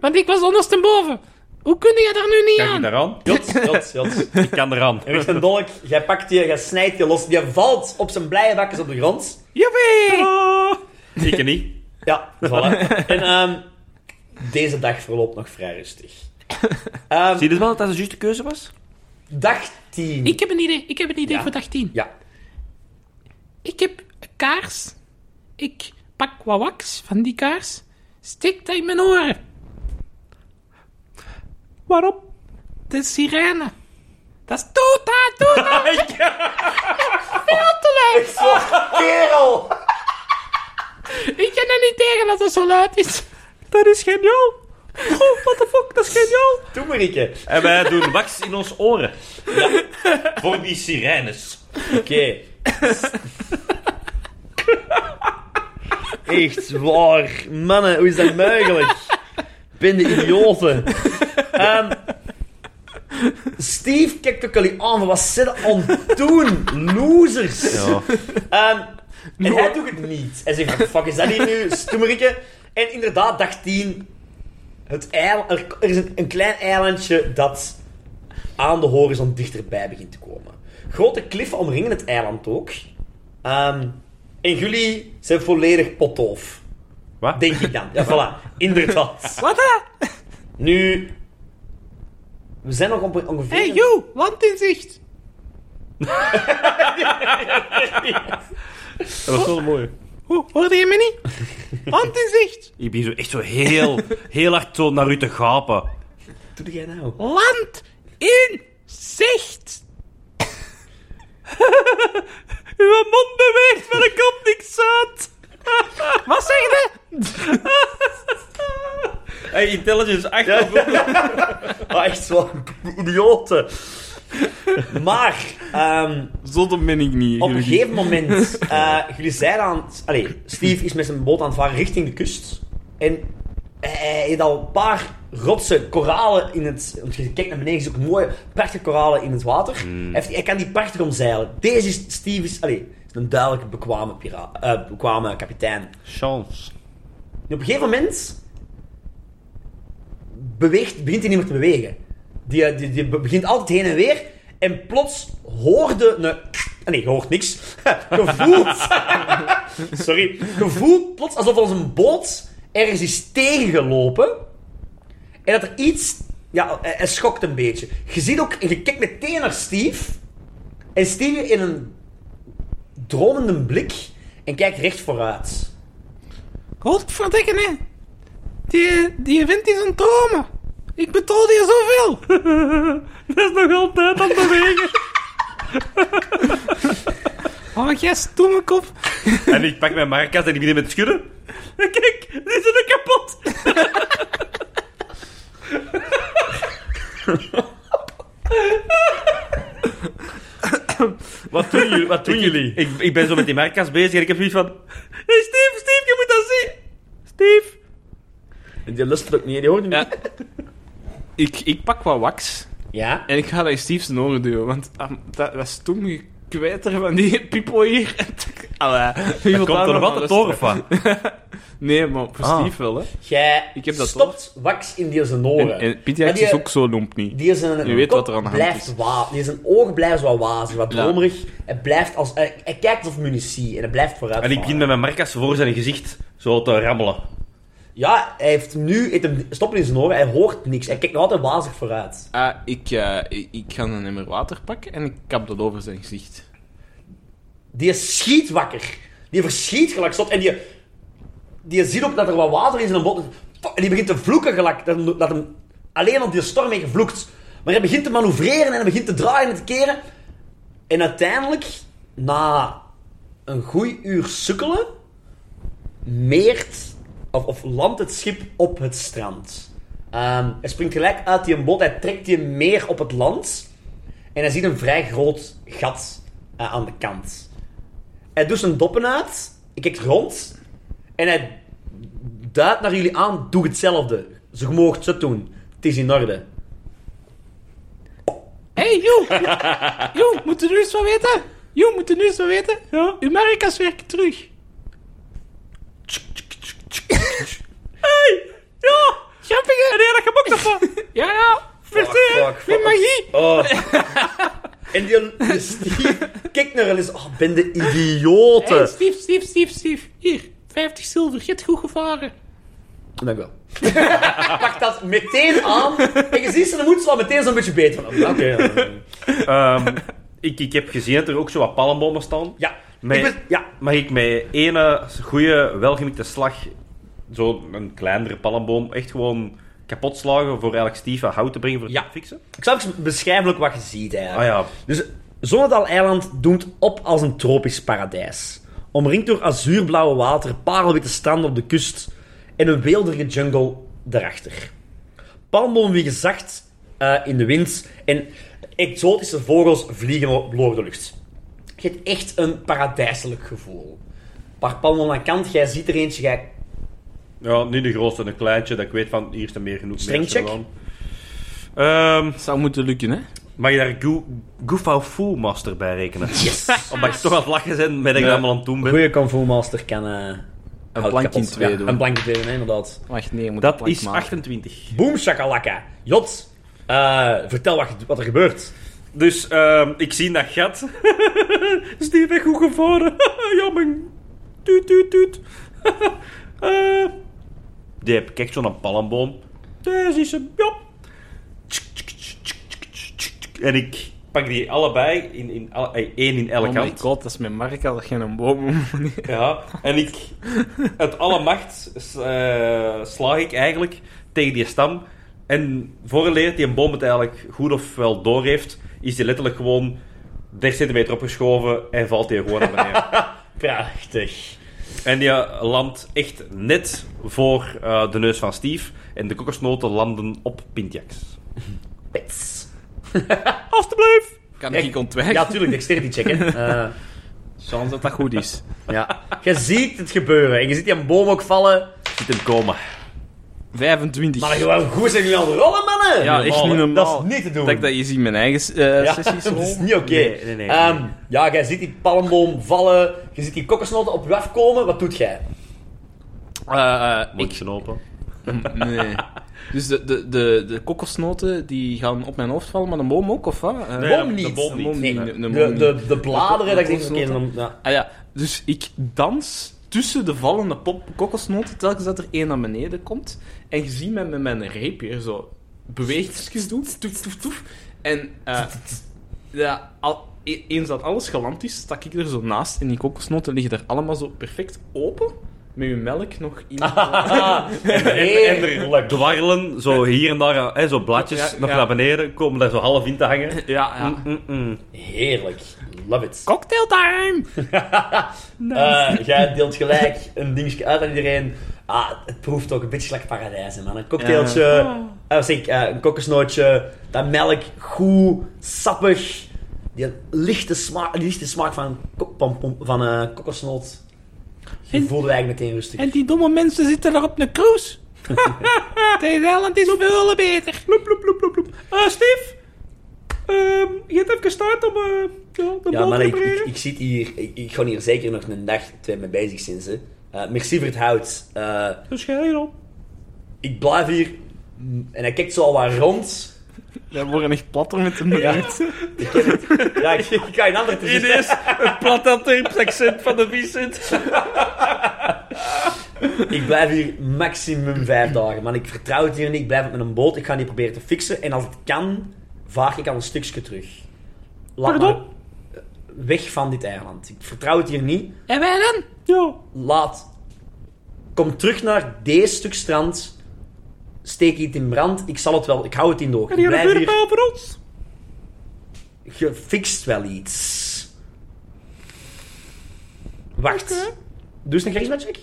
Want ik was ondersteboven. Hoe kun je daar nu niet
Kan ik
aan?
daaraan?
Jots, jots, jots.
Ik kan eraan.
Er ligt een dolk, jij pakt die, jij snijdt die los, die valt op zijn blije bakjes op de grond.
Joepie!
Ik niet.
Ja, voilà. En ehm, deze dag verloopt nog vrij rustig. Ehm,
Zie je dus wel dat dat de juiste keuze was?
dag 10.
Ik heb een idee, ik heb een idee
Ja.
voor dag 10.
Ja,
Ik heb een kaars. Ik pak wat wax van die kaars. Steek dat in mijn oren. Waarom? De sirene. Dat is toet, hè, toet, hè. Veel te luid.
kerel!
Ik kan er niet tegen dat het zo luid is. Dat is geniaal. Oh, what the fuck, dat is geniaal.
Doe maar, Rieke.
En wij doen wax in ons oren. Voor die sirenes.
Oké. Echt waar. Mannen, hoe is dat mogelijk? Ben de idioten. Ehm, Steve kijkt ook jullie aan. Wat zit er aan het doen? Losers. Ehm, en hij doet het niet. Hij zegt, "Wat fuck is dat hier nu? Stoemerikke. En inderdaad, dag 10. Het eiland, er, er is een, een klein eilandje dat aan de horizon dichterbij begint te komen. Grote kliffen omringen het eiland ook. Ehm, en jullie zijn volledig potdoof.
Wat?
Denk ik dan. Ja, voilà. Inderdaad.
Wat, hè?
Nu... We zijn nog op ongeveer...
Hey, you, land in zicht.
Dat was wel mooi.
Ho- Hoorde je me niet? Land in zicht.
Ik begin zo echt zo heel, heel hard zo naar u te gapen.
Doe jij nou?
Land in zicht. Uw mond beweegt, maar er komt niks uit. Wat zeg je?
Hey, intelligence 8 ja.
Ah, echt zo'n idioten. Maar... ehm,
Zonder ben ik niet.
Op een gegeven moment, eh, jullie zijn aan het... Allee, Steve is met zijn boot aan het varen richting de kust. En hij heeft al een paar rotsen, koralen in het... Want je kijkt naar beneden, je ziet ook mooie, prachtige koralen in het water. Hij, heeft, hij kan die prachtig omzeilen. Deze is, Steve is... Allee, is een duidelijk bekwame, pira- eh, bekwame kapitein.
Chance.
En op een gegeven moment beweegt, begint hij niet meer te bewegen. Die, die, die begint altijd heen en weer. En plots hoorde een... ah, Nee, je hoort niks. Gevoeld. Sorry. Gevoeld plots alsof onze boot ergens is tegengelopen. En dat er iets... Ja, hij, hij schokt een beetje. Je ziet ook... Je kijkt meteen naar Steve. En Steve in een dromende blik. En kijkt recht vooruit.
Godverdikke, hè. Die, die wind is een dromen. Ik betaal die zoveel. Dat is nog altijd aan het bewegen. oh, jij stomme kop.
En ik pak mijn maracas en ik begin met schudden.
En Kijk, die zijn er kapot.
Wat doen jullie? Wat doen jullie? Ik, ik ben zo met die maracas bezig en ik heb zoiets van...
Hey, Steve, Steve, je moet dat zien. Steve.
En die lust het ook niet. Die hoort niet
Ja. Ik, ik pak wat wax
Ja?
en ik ga dat in Steve's oren duwen, want ah, dat, dat stomme kwijter van die pipo hier. Allee, wie wil
Komt
daar
er
nog
wat
aan
een toren
luisteren?
van?
Nee, maar voor
Ah.
Steve wel, hè.
Jij
Ik heb dat
stopt wax in die zijn oren.
En, en Piet
Maar
Jax
die-
is ook zo lomp niet.
Die is een,
Je weet
kop
wat er aan de hand
blijft
is.
wa- die zijn oog blijft zo wat wazig, wat
Ja.
dromerig. Hij, blijft als, hij, hij kijkt of munitie en hij blijft vooruit.
En ik begin
varen.
met mijn maracas voor zijn gezicht zo te rammelen.
Ja, hij heeft nu... heeft hem stopt in zijn oren, hij hoort niks. Hij kijkt nog altijd wazig vooruit.
Ah, ik, eh, ik, ik ga een emmer water pakken en ik kap dat over zijn gezicht.
Die schiet wakker. Die verschiet gelijk stop. En die, die ziet ook dat er wat water in zijn bot. En die begint te vloeken gelijk. Dat, dat hem alleen op die storm heeft gevloekt. Maar hij begint te manoeuvreren en hij begint te draaien en te keren. En uiteindelijk, na een goed uur sukkelen, meert of, of landt het schip op het strand. Ehm, hij springt gelijk uit die boot, hij trekt die meer op het land. En hij ziet een vrij groot gat eh, aan de kant. Hij doet zijn doppen uit, hij kijkt rond en hij duidt naar jullie aan: doe hetzelfde. Ze moogt het doen, het is in orde.
hey, joh. Joh, moet je nu eens wat weten? Joh, moet je nu eens wat weten? Ja. Uw maricas werken terug. hey, ja. Grappige. En jij dat gebok daarvan. ja, ja. Verzeer. Met magie.
Oh. en die, die Steve kijkt naar hen en is: oh, ben de idioten.
Hey, Steve, Steve, Steve, Steve. Hier, 50 zilver. Je hebt goed gevaren.
Dank wel. Pak dat meteen aan en je ziet ze moet wel meteen zo'n beetje beter van. Oké. eh,
Ehm, ik, ik heb gezien dat er ook zo wat palmbomen staan.
ja.
Nee.
Ik ben- ja.
Mag ik met ene goede, welgemikte slag zo'n kleinere palmboom echt gewoon kapot slagen voor eigenlijk Steve aan hout te brengen voor het
Ja.
te fixen?
Ik zal even beschrijven ook wat je ziet eigenlijk.
Ah ja,
Dus Zonnedal-eiland doemt op als een tropisch paradijs. Omringd door azuurblauwe water, parelwitte stranden op de kust en een weelderige jungle daarachter. Palmbomen wiegen zacht eh, in de wind en exotische vogels vliegen o- door de lucht. Je hebt echt een paradijselijk gevoel. Een paar palmbomen aan de kant, jij ziet er eentje, jij...
ja, niet de grootste, een kleintje, dat ik weet van hier is er meer genoeg.
Strengcheck?
mensen gewoon. Ehm,
Het zou moeten lukken, hè?
mag je daar Goo- Goofau Fool Master bij rekenen?
Yes!
Omdat ik toch aan het lachen ben, ben ik
Ja.
allemaal aan het doen ben.
Goeie Kung Fu Master kan... eh, hout
plank in
kapot-
twee
ja,
doen.
Een plank in twee doen, hè, inderdaad.
Wacht, nee, je moet
Dat is 28.
Boom shakalaka. Jot, eh, vertel wat, wat er gebeurt.
Dus ehm, ik zie dat gat. Steve heeft goed gevaren. Jammer. Tuut, tuut, tuut. Eh, die heb ik echt zo'n palmboom.
Eh,
Daar is hem. Ja. En ik pak die allebei. In, in, alle- eh, één in elke
Oh my
kant.
god, dat is mijn marca, dat geen een boom.
Ja, en ik, uit alle macht s- eh, slaag ik eigenlijk tegen die stam. En vooraleer die een boom het eigenlijk goed of wel door heeft, is die letterlijk gewoon 30 centimeter opgeschoven en valt die gewoon naar beneden.
Prachtig.
en die eh, landt echt net voor eh, de neus van Steve. En de kokosnoten landen op Pintjax.
Pits.
Alsjeblieft!
Kan
Kijk,
ik ontwijken?
Ja, tuurlijk, dexterity check, hè. Eh,
Chance dat dat goed is.
ja. Je ziet het gebeuren. En je ziet die een boom ook vallen.
Zit hem komen.
25.
Maar gewoon goed zijn jullie aan het rollen, mannen.
ja, echt niet normaal.
Dat is niet te doen.
Dat ik dat je ziet in mijn eigen eh,
Ja,
sessies.
dat is
rol.
niet oké.
Nee, nee, nee.
Ehm, ja, jij ziet die palmboom vallen. Je ziet die kokosnoten op je afkomen. Wat doet jij?
Eh, eh, ik,
Mondje open.
Nee. Dus de, de, de, de kokosnoten die gaan op mijn hoofd vallen, maar de boom ook, of wat? Eh,
Nee,
boom
de- de
niet.
boom
De boom
Nee,
niet, de- de
de,
boom
de,
niet.
de, bladeren, dat ik denk, oké,
kokosnoten.
dan... Ja.
Ah ja, dus ik dans tussen de vallende pop kokosnoten telkens dat er één naar beneden komt. En je ziet mij met mijn reepje zo beweegjes doen. Toef, toef, toef. En eh, ja, al, e- eens dat alles geland is, stak ik er zo naast. En die kokosnoten liggen er allemaal zo perfect open. Met je melk nog in.
Heerlijk.
Dwarrelen, zo hier en daar, eh, hè, zo blaadjes
Ja, ja,
nog
ja.
naar beneden, komen daar zo half in te hangen.
Ja, ja.
Mm-mm.
Heerlijk. Love it.
Cocktail time!
Eh, jij deelt gelijk een dingetje uit aan iedereen. Ah, het proeft ook een beetje like paradijs, hè, man. Een cocktailtje,
Oh.
eh, wat zeg ik, eh, een kokosnootje, dat melk, goed, sappig. Die lichte smaak, die lichte smaak van, kok- pom- pom- van eh, kokosnoot. Je
En-
voelde je eigenlijk meteen rustig.
En die domme mensen zitten daar op een cruise. Thailand is veel beter.
Ploep, ploep, ploep, ploep, ploep. Eh, Steve? Ehm, je hebt even gestart om eh, ja, de
Ja,
boom
maar
te
ik, ik,
repareren.
ik zit hier, ik, ik ga hier zeker nog een dag, twee mee bezig zijn. Hè. Eh, merci voor het hout. Eh,
Dus jij hierop.
ik blijf hier. mm, En hij kijkt zo al wat rond.
Wij worden echt platter met de minuut.
Ja, ik, ik ga een ander te zien.
Ineens het platte accent van de Vincent.
Ik blijf hier maximum vijf dagen. Man, ik vertrouw het hier niet. Ik blijf met een boot. Ik ga die proberen te fixen. En als het kan, vaag ik al een stukje terug. Laat
Pardon?
me weg van dit eiland. Ik vertrouw het hier niet.
En wij dan?
Ja.
Laat. Kom terug naar deze stuk strand. Steek iets in brand. Ik zal het wel. Ik hou het in de ogen.
En hier
Blijf
gebeurt
hier.
wel voor ons.
Je fixt wel iets. Wacht. Doe eens een charisma check.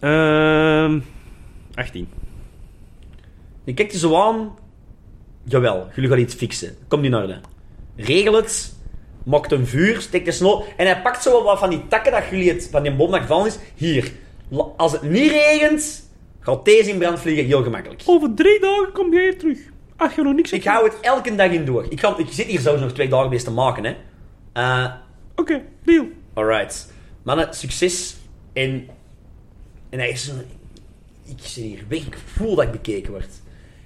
Ehm 18.
Je kijkt je zo aan. Jawel, jullie gaan iets fixen. Kom in orde. Regel het. Maakt een vuur, steekt de snow. En hij pakt zo wel wat van die takken dat jullie het, van die boom dat gevallen is. Hier. La- Als het niet regent, gaat deze in brand vliegen heel gemakkelijk.
Over drie dagen kom jij hier terug. Als je nog niks
Ik
hebt
hou het elke dag in door. Ik, kan, ik zit hier zelfs nog twee dagen bezig te maken, hè. Eh,
Oké, deal.
Alright. Mannen, succes. En, en hij is een- Ik zit hier weg. Ik voel dat ik bekeken word.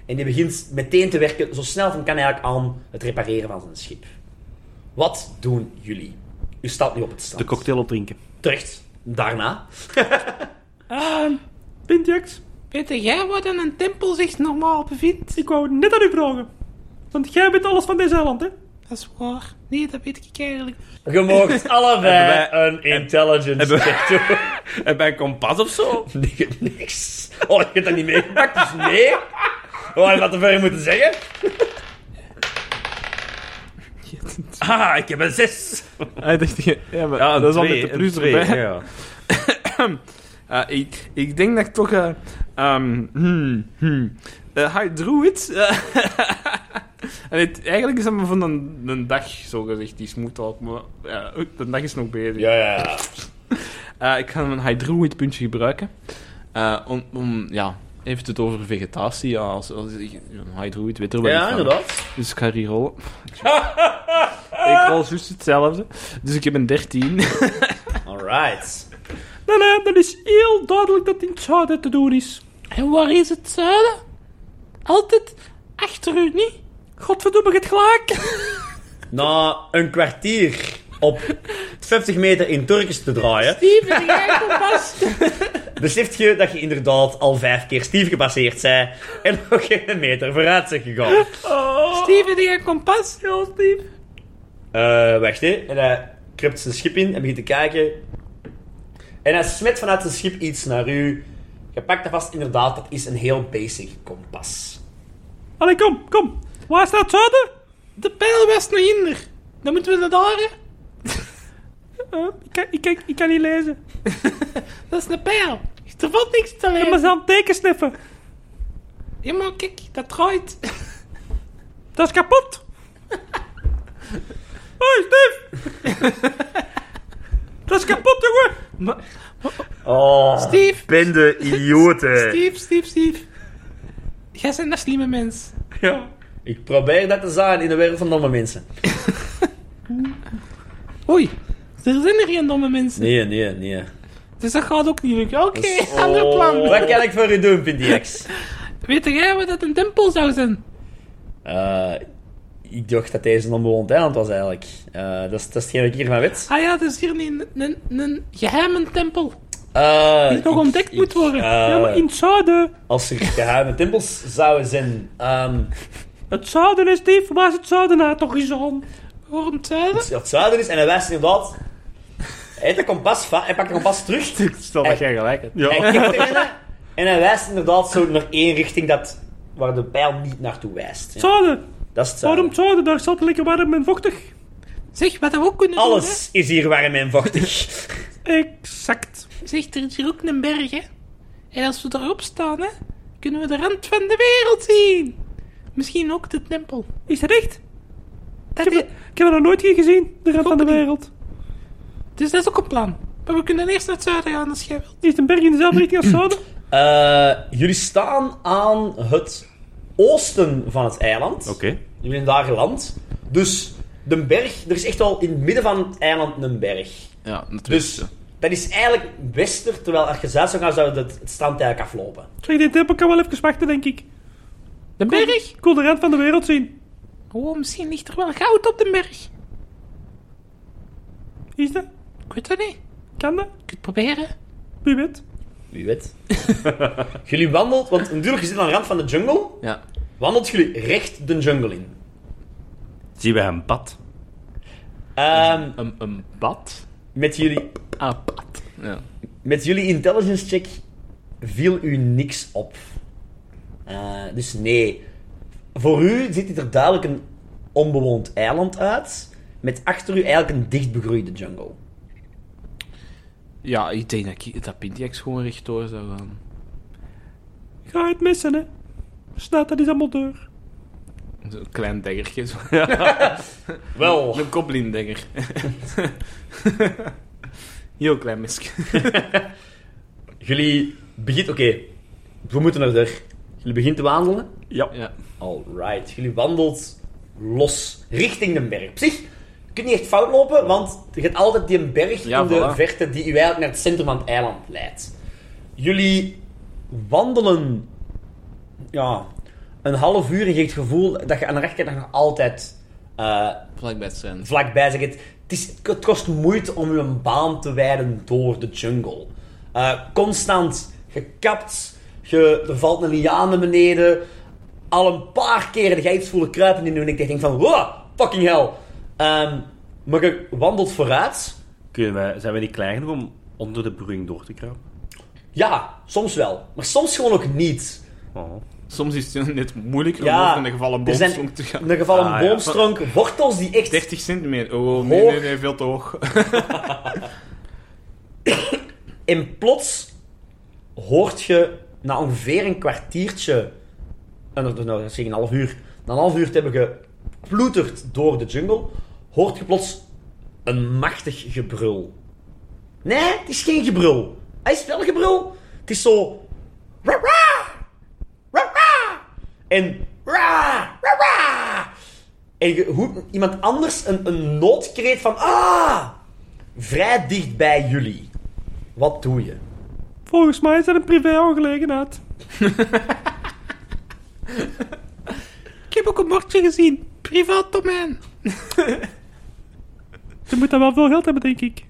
En die begint meteen te werken, zo snel als hem kan eigenlijk, aan het repareren van zijn schip. Wat doen jullie? U staat nu op het strand.
De cocktail opdrinken.
Terecht. Daarna.
Ehm,
Pintjax,
weet jij wat in een tempel zich normaal bevindt?
ik wou net aan u vragen. Want jij bent alles van deze eiland, hè?
Dat is waar. Nee, dat weet ik eigenlijk.
Je moogt allebei
Hebben
een intelligence
hebben-
check doen.
En bij een kompas of zo?
Nee, niks. Oh, je hebt dat niet meegepakt, dus nee. Oh, ik had te ver moeten zeggen.
Ah, ik heb een 6.
Hij Ah, dacht, ja, maar
Ja,
dat is al
twee,
met de
een
plus
twee,
erbij.
ja.
Eh, ik, ik denk dat ik toch... eh ehm hmm, hmm. Eh, hi, Druid. Eh, en het- eigenlijk is dat maar van een, een dag, zo gezegd. Die smoot al, maar ja, de dag is nog bezig.
Ja, ja, ja.
Eh, ik ga mijn high druid puntje gebruiken. Eh, om, om, ja, even het over vegetatie. Ja, als, als, ik- een high druid weet er wel
Ja,
iets van.
inderdaad.
Dus ik ga hier rollen. ik rol juist hetzelfde. Dus ik heb een 13.
Alright.
nee, nee, dat is heel duidelijk dat in het zuiden te doen is.
En waar is het zuiden? Altijd achter u, niet?
Godverdomme, het gelijk.
Na een kwartier op 50 meter in Turkens te draaien,
Lieve, jij kompas.
beseft je dat je inderdaad al vijf keer stief gepasseerd zij en nog geen meter vooruit bent gegaan.
Oh. Steven, jij kompas.
Ja, Steve.
Eh, wacht hè. En hij kruipt zijn schip in en begint te kijken. En hij smet vanuit zijn schip iets naar u. Je pakt dat vast, inderdaad, dat is een heel basic kompas.
Allee, kom, kom. Waar staat het zuiden?
De pijl was naar hinder. Dan moeten we naar daar, hè?
Eh, ik, kan, ik, kan, ik kan niet lezen.
Dat is een pijl. Er valt niks te
Ik moet
lezen.
aan het teken sniffen.
Ja, maar kijk, dat draait.
Dat is kapot. Hoi, Steve. dat is kapot, jongen.
Oh,
Steve.
bende idioten.
Steve, Steve, Steve. Jij bent een slimme mens.
Ja.
Ik probeer dat te zijn in de wereld van domme mensen.
Oei, er zijn er geen domme mensen.
Nee, nee, nee.
Dus dat Oh. gaat ook niet lukken. Oké,
Dus-
ander plan.
Wat kan ik voor u doen, Pindiax?
Weet jij wat dat een tempel zou zijn?
Eh, ik dacht dat deze een onbewoond eiland was, eigenlijk. Eh, dat, is, dat is hetgeen wat ik hiervan weet.
Ah ja, dat is hier niet een, een, een geheime tempel.
Eh,
Die nog
ik-
ontdekt
ik-
moet worden.
eh,
ja, maar in het zuiden.
Als er geheime tempels zouden zijn... ehm,
Het zuiden is dief, waar is het zuiden nou toch eens aan? Waarom het zuiden?
als het het zuiden is en hij wijst inderdaad... Hij heeft een kompas, va- hij pakt een kompas terug.
Stel
dat
jij gelijk hebt.
Ja.
Hij kijkt erin en hij wijst inderdaad zo naar één richting dat, waar de pijl niet naartoe wijst. Ja,
Zuiden.
dat is het
Waarom
zuiden.
het zuiden? Daar staat lekker warm en vochtig. Zeg, wat we ook kunnen doen,
Alles is hier warm en vochtig.
hè? Exact. Zeg, er is hier ook een berg, hè? En als we erop staan, hè, kunnen we de rand van de wereld zien. Misschien ook de tempel.
Is dat echt?
Dat
Ik
is,
heb, ik heb dat nog nooit hier gezien, de rand van de
Ook niet.
wereld.
dus dat is ook een plan. Maar we kunnen eerst naar het zuiden gaan als jij wilt.
Is het een berg in dezelfde richting als Zouden?
Eh, jullie staan aan het oosten van het eiland.
Oké.
Jullie zijn daar geland. Dus de berg, er is echt wel in het midden van het eiland een berg.
Ja, natuurlijk.
Dus dat is eigenlijk wester, terwijl als je zuid zou gaan, zou het, het strand eigenlijk aflopen.
Zeg, die tempel kan wel even wachten, denk ik.
De berg?
Ik wil de rand van de wereld zien.
Oh, misschien ligt er wel goud op de berg.
Is dat?
Ik weet dat niet. Je
Kan dat?
kunt het proberen.
Wie weet.
Wie weet. jullie wandelt, want natuurlijk, je zit aan de rand van de jungle.
Ja.
Wandelt jullie recht de jungle in.
Zien we hem pad?
Ehm,
Een, een bad?
met, jullie,
Ah, bad. Ja.
met jullie intelligence check viel u niks op. Eh, dus nee. Voor u ziet dit er duidelijk een onbewoond eiland uit. Met achter u eigenlijk een dichtbegroeide jungle.
ja, ik denk dat, ik- dat Pintiax gewoon rechtdoor zou gaan.
Ga het missen, hè. Staat dat is allemaal deur.
Zo'n klein deggertje. Zo. Ja,
Wel,
een goblin degger. Heel klein miske.
jullie begint... Oké, we moeten naar daar. Jullie beginnen te wandelen.
Ja.
Ja.
Alright, jullie wandelt los richting de berg. Op zich, je kunt niet echt fout lopen, want je hebt altijd die berg
Ja,
in de
voilà.
verte die u eigenlijk naar het centrum van het eiland leidt. Jullie wandelen ja, een half uur en je hebt het gevoel dat je aan de rechterkant nog altijd eh,
Vlakbij het strand.
vlakbij zit. Het, is, het kost moeite om je een baan te wijden door de jungle. Eh, constant gekapt, je, er valt een liaan naar beneden. Al een paar keren dat jij iets voelen kruipen in je nek. dat je denkt van, wow, fucking hell. Ehm, maar je wandelt vooruit.
Kunnen wij, zijn we niet klein genoeg om onder de broeiing door te kruipen?
Ja, soms wel. Maar soms gewoon ook niet.
Oh.
Soms is het net moeilijker om
Ja,
over een gevallen
er zijn-
boomstronk te gaan.
In ieder geval een
Ah, ja.
boomstronk, wortels die echt
30 centimeter. Oh, nee,
Hoog.
nee, nee, veel te hoog.
En plots hoort je na ongeveer een kwartiertje, en dat nou, dat zeg ik een half uur, na een half uur te hebben geploeterd door de jungle, hoort je plots een machtig gebrul. Nee, het is geen gebrul. Hij is wel gebrul. Het is zo... Ra En... Ra En je hoort iemand anders een, een noodkreet van... Ah! Vrij dicht bij jullie. Wat doe je?
Volgens mij is dat een privé-aangelegenheid.
Ik heb ook een bordje gezien. Privaat domein.
Je moet daar wel veel geld hebben, denk ik.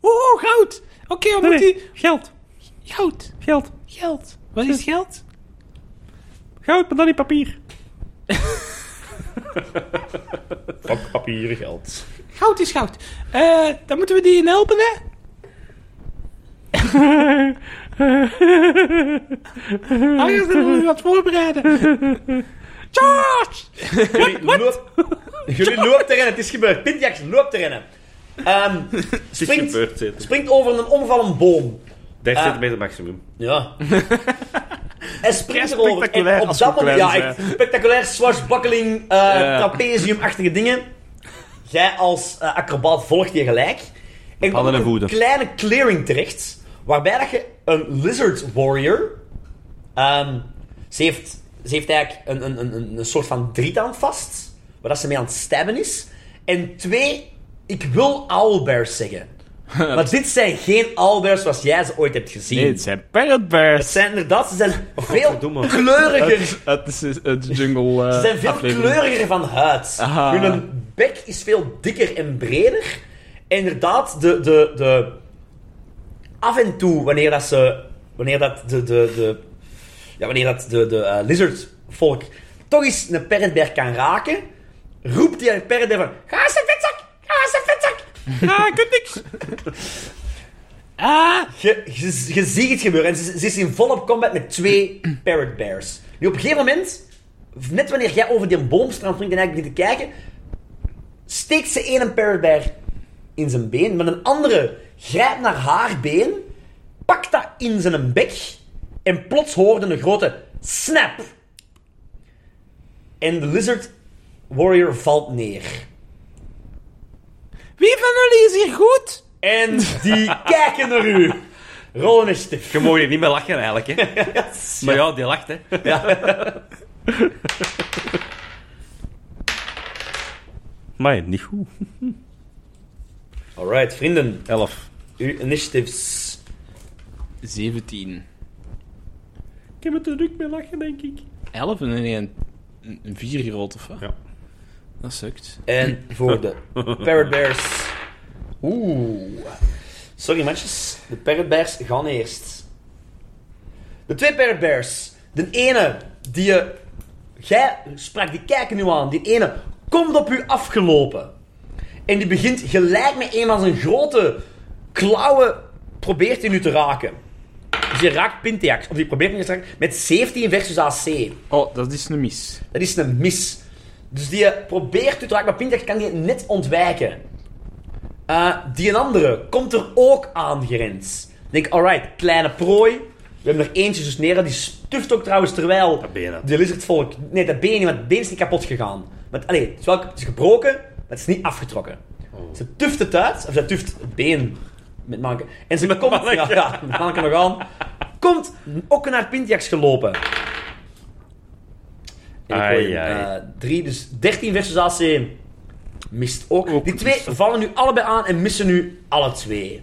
Oh, goud. Oké, we
Nee,
moeten...
nee. Geld.
Goud.
Geld.
Geld. Dus Wat is geld?
Goud, maar dan in papier.
Pak papieren geld.
Goud is goud. Eh, dan moeten we die in helpen, hè?
Ah,
Anders dan we wat voorbereiden. George!
Jullie, loop, jullie loopt te rennen, het is gebeurd. Pintjax loopt te rennen. Ehm,
Het is
springt,
gebeurd, zeker.
springt over een omgevallen boom.
30
Ah.
centimeter maximum.
Ja. En springt
Ja,
erover.
spectaculair
En op
als
dat
we
moment,
klein
ja,
zijn.
echt spectaculair, swashbuckling, eh
Ja.
trapeziumachtige dingen. Jij als eh, acrobaat volgt je gelijk. En je komt
Handen en
op een
voeten.
kleine clearing terecht, waarbij dat je een lizard warrior... ehm, ze, heeft, ze heeft eigenlijk een, een, een- een, een soort van drietand vast, waar dat ze mee aan het stabben is. En twee, ik wil owlbears zeggen. Maar dit zijn geen owlbears zoals jij ze ooit hebt gezien.
Nee, het zijn parrot bears.
Het zijn inderdaad, ze zijn
Oh,
veel
Verdomme.
kleuriger.
Het, het is het jungle. eh
Ze zijn veel
aflevering.
kleuriger van huid.
Aha.
Hun bek is veel dikker en breder. En inderdaad, de, de, de... af en toe, wanneer dat ze... Wanneer dat de... de, de ja, wanneer dat de, de eh, lizardvolk toch eens een parrotbeer kan raken, roept die parrotbeer van... Ga eens een vetzak! Ga eens een vetzak!
Ah, ik kunt niks. Ah,
Je, je, je ziet het gebeuren. En ze, ze is in volop combat met twee parrot bears. Nu, op een gegeven moment, net wanneer jij over die boomstrand springt en eigenlijk begint te kijken, steekt ze één parrot bear in zijn been, maar een andere grijpt naar haar been, pakt dat in zijn bek en plots hoorde een grote snap. En de lizard warrior valt neer.
Wie van jullie is hier goed?
En die kijken naar u. Rollen een stuk.
Je mag hier niet meer lachen eigenlijk, hè? Maar ja, die lacht, hè? Maar niet goed.
Alright, vrienden.
Elf.
Uw initiatives.
17.
Ik heb het er druk mee lachen, denk ik.
11 en een- een 4 gerold of wat?
Ja.
Dat sukt.
En voor de Parrot Bears. Oeh. Sorry, mensen. De Parrot Bears gaan eerst. De twee Parrot Bears. De ene die je. Jij sprak, die kijken nu aan. Die ene komt op u afgelopen. En die begint gelijk met een van zijn grote klauwen. Probeert hij nu te raken. Dus die raakt Pintiax. Of die probeert hem te raken. Met 17 versus AC.
Oh, dat is een mis.
Dat is een mis. Dus die probeert u te raken, maar Pinter kan die net ontwijken. Eh, die een andere komt er ook aangerend. Ik Denk, alright, kleine prooi. We hebben er eentje dus neer, die stuft ook trouwens terwijl...
Dat been, hè.
De lizardvolk... Nee, dat been niet, want het been is niet kapot gegaan. Want, allee, het is, wel, het is gebroken, maar het is niet afgetrokken. Ze tuft het uit, of ze tuft het been met manken. En ze komt... Ja, ja, met manken nog aan. Komt ook naar Pintiax gelopen. En ik gooi
Ai,
hem,
ai.
eh, drie, dus 13 versus AC mist ook.
Ook
Die twee vallen nu allebei aan en missen nu alle twee.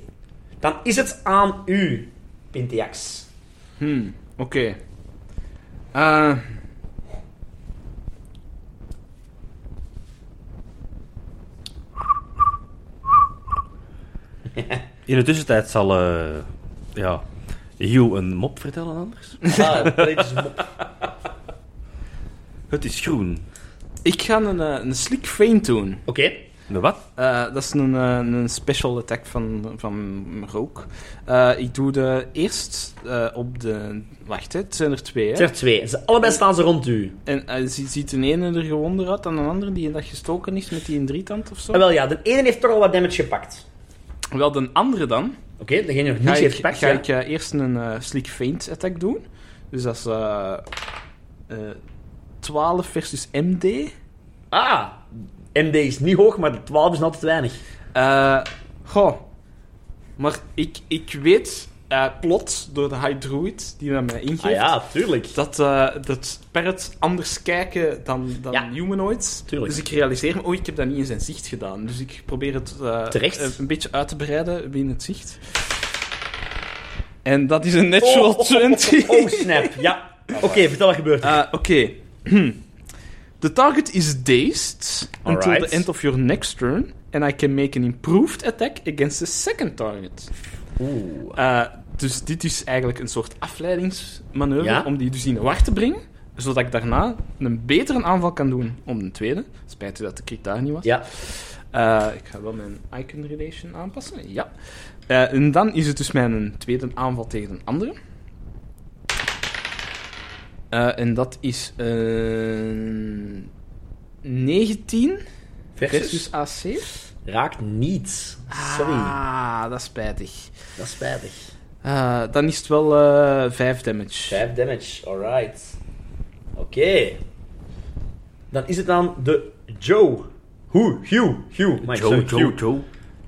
Dan is het aan u, Pintiax.
Hmm, oké. Eh,
In de tussentijd zal eh ja, Hugh een mop vertellen anders.
Ah, dat is een mop.
Het is groen.
ik ga een, eh, een slick feint doen.
Oké.
De wat?
Eh, dat is een, eh, een special attack van, van rook. Eh, ik doe de eerst eh, op de... Wacht, hè, het zijn er twee. Hè?
Het zijn er twee. Ze, allebei staan ze rond u.
En eh, zie- ziet een ene er gewonder uit dan een andere die in dat gestoken is met die een drietand of zo.
Ah, wel ja, de ene heeft toch al wat damage gepakt.
Wel, de andere dan
Oké, degene die nog
ga
niets heeft
ik,
gepakt.
ga
ja.
ik eh, eerst een eh, slick feint attack doen. Dus dat is eh, eh, 12 versus MD.
Ah, MD is niet hoog, maar de 12 is nog altijd weinig.
Eh, goh. Maar ik, ik weet eh plots door de High Druid die naar mij ingeeft.
Ah ja, tuurlijk.
dat, eh dat parrots anders kijken dan, dan
Ja.
humanoids.
Tuurlijk.
Dus ik realiseer me, oh, ik heb dat niet in zijn zicht gedaan. Dus ik probeer het eh,
Terecht.
een, een beetje uit te breiden binnen het zicht. En dat is een natural 20.
Oh, snap. Ja. Oké, vertel wat gebeurt er.
Eh, Oké. The target is dazed until
Alright.
the end of your next turn. And I can make an improved attack against the second target.
Oeh.
Eh, dus dit is eigenlijk een soort afleidingsmanoeuvre
Ja.
om die dus in de wacht te brengen, zodat ik daarna een betere aanval kan doen om de tweede. Spijt u dat de crit daar niet was.
Ja.
Eh, ik ga wel mijn icon relation aanpassen. Ja. Eh, en dan is het dus mijn tweede aanval tegen een andere. Eh, en dat is een 19
Versus.
versus AC.
Raakt niet. Sorry.
Ah, dat is spijtig.
Dat is spijtig.
Eh, dan is het wel eh 5 damage.
5 damage, alright. Oké. Dan is het aan de Joe. Hoe? Hugh. Hugh. Mike, sorry, Hugh.
Joe. Het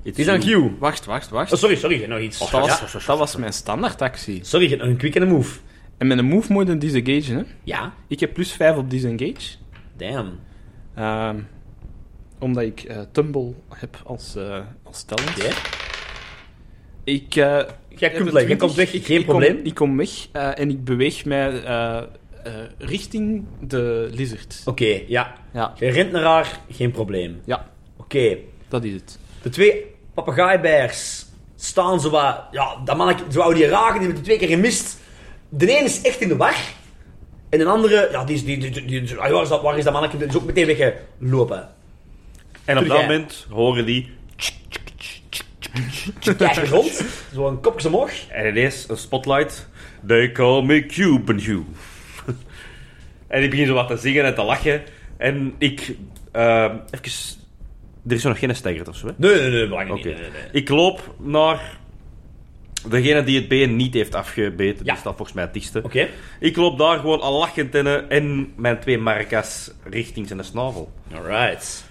Het is aan Hugh.
Wacht, wacht, wacht.
Oh, sorry, sorry. Nog iets.
dat,
Ja.
was, dat was mijn standaardactie.
Sorry, je hebt nog een quick en een move.
En met een move moet je disengagen, hè.
Ja.
Ik heb plus 5 op disengage.
Damn.
Ehm, omdat ik eh, tumble heb als, eh als talent.
Oké.
Ik, eh,
Jij
heb
kunt
de
leggen, je
20.
komt weg,
Ik-
geen
ik kom-
probleem.
ik kom weg eh, en ik beweeg mij eh, eh, richting de lizard.
Oké, ja.
Ja,
Je rent naar haar, geen probleem.
ja,
Oké.
dat is het.
De twee papegaaibeers staan zo wat... Ja, dat mannetje, zo wou die raken, die hebben die twee keer gemist. De ene is echt in de war. En de andere, ja, die is... Die, die, die, die- ah, waar, is dat, waar is dat mannetje? Die is ook meteen weggelopen.
En op
Terug,
dat
hè.
moment horen die...
Kijk rond, zo een kopje omhoog.
En ineens een spotlight. They call me Cuban Hugh. en ik begin zo wat te zingen en te lachen. En ik... eh, even... Er is nog geen stijger of zo, hè?
Nee, nee, nee, belangrijk
Oké.
niet. Nee, nee, nee.
Ik loop naar degene die het been niet heeft afgebeten.
Ja.
Die staat volgens mij het dichtste.
Oké.
Ik loop daar gewoon al lachend in eh, en mijn twee maracas richting zijn snavel.
Alright.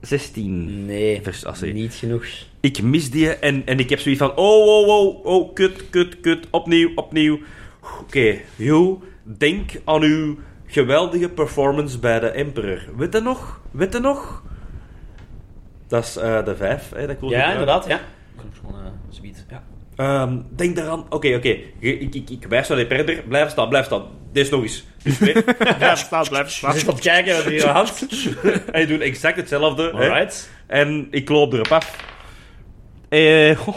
16.
Nee,
Vers AC.
niet genoeg.
Ik mis die en, en ik heb zoiets van... Oh, oh, oh, oh, kut, kut, kut. Opnieuw, opnieuw. Oké, Hugh, denk aan uw geweldige performance bij de Emperor. Weet je nog? Weet je nog? Dat is eh, de 5, hè, dat ik wil
Ja,
gebruiken.
inderdaad, ja. Ik heb gewoon eh, een speed. Ja.
Ehm, denk daaraan. Oké, oké. Ik, ik, ik, ik wijs naar die perder. Blijf staan, blijf staan. Dit is nog eens. Dus weer.
Blijf staan, blijf
Je
staan.
zit aan het kijken wat hier aan de hand.
Hij doet exact hetzelfde. hè.
Alright.
En ik loop erop af. Eh,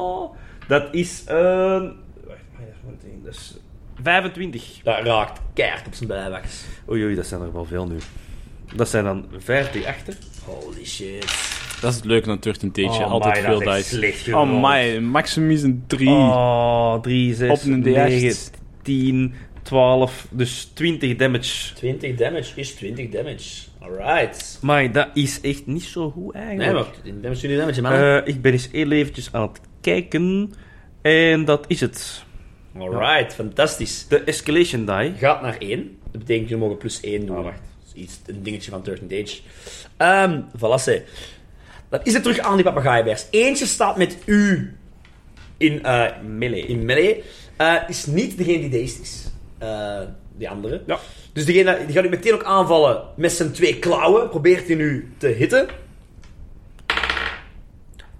dat is een. wacht, dat is maar één, dat is 25.
Dat raakt keihard op zijn bijwax.
Oei, oei, dat zijn er wel veel nu. Dat zijn dan 5 die achter.
Holy shit.
Dat is het leuke aan 13 Teetje.
Oh,
Altijd
Amai,
veel
dat is echt
dice.
slecht gerold.
Oh my, maximum is een 3.
Oh, 3, 6,
Op een
9,
D8.
10, 12. Dus 20 damage.
20 damage is 20 damage. Alright.
Maar dat is echt niet zo goed eigenlijk.
Nee, maar 20 damage is 20 damage, man.
Eh, ik ben eens heel eventjes aan het kijken. En dat is het.
Alright, fantastisch.
De escalation die.
Gaat naar 1. Dat betekent je mogen plus 1 doen.
Ah, wacht.
Dat is Iets, een dingetje van 13 Age. Ehm, voilà, zeg. Dan is het terug aan die papegaaibeers. Eentje staat met u in, eh melee. In melee. Eh, is niet degene die deze is. Eh, die andere.
Ja.
Dus degene, die gaat u meteen ook aanvallen met zijn twee klauwen. Probeert hij nu te hitten.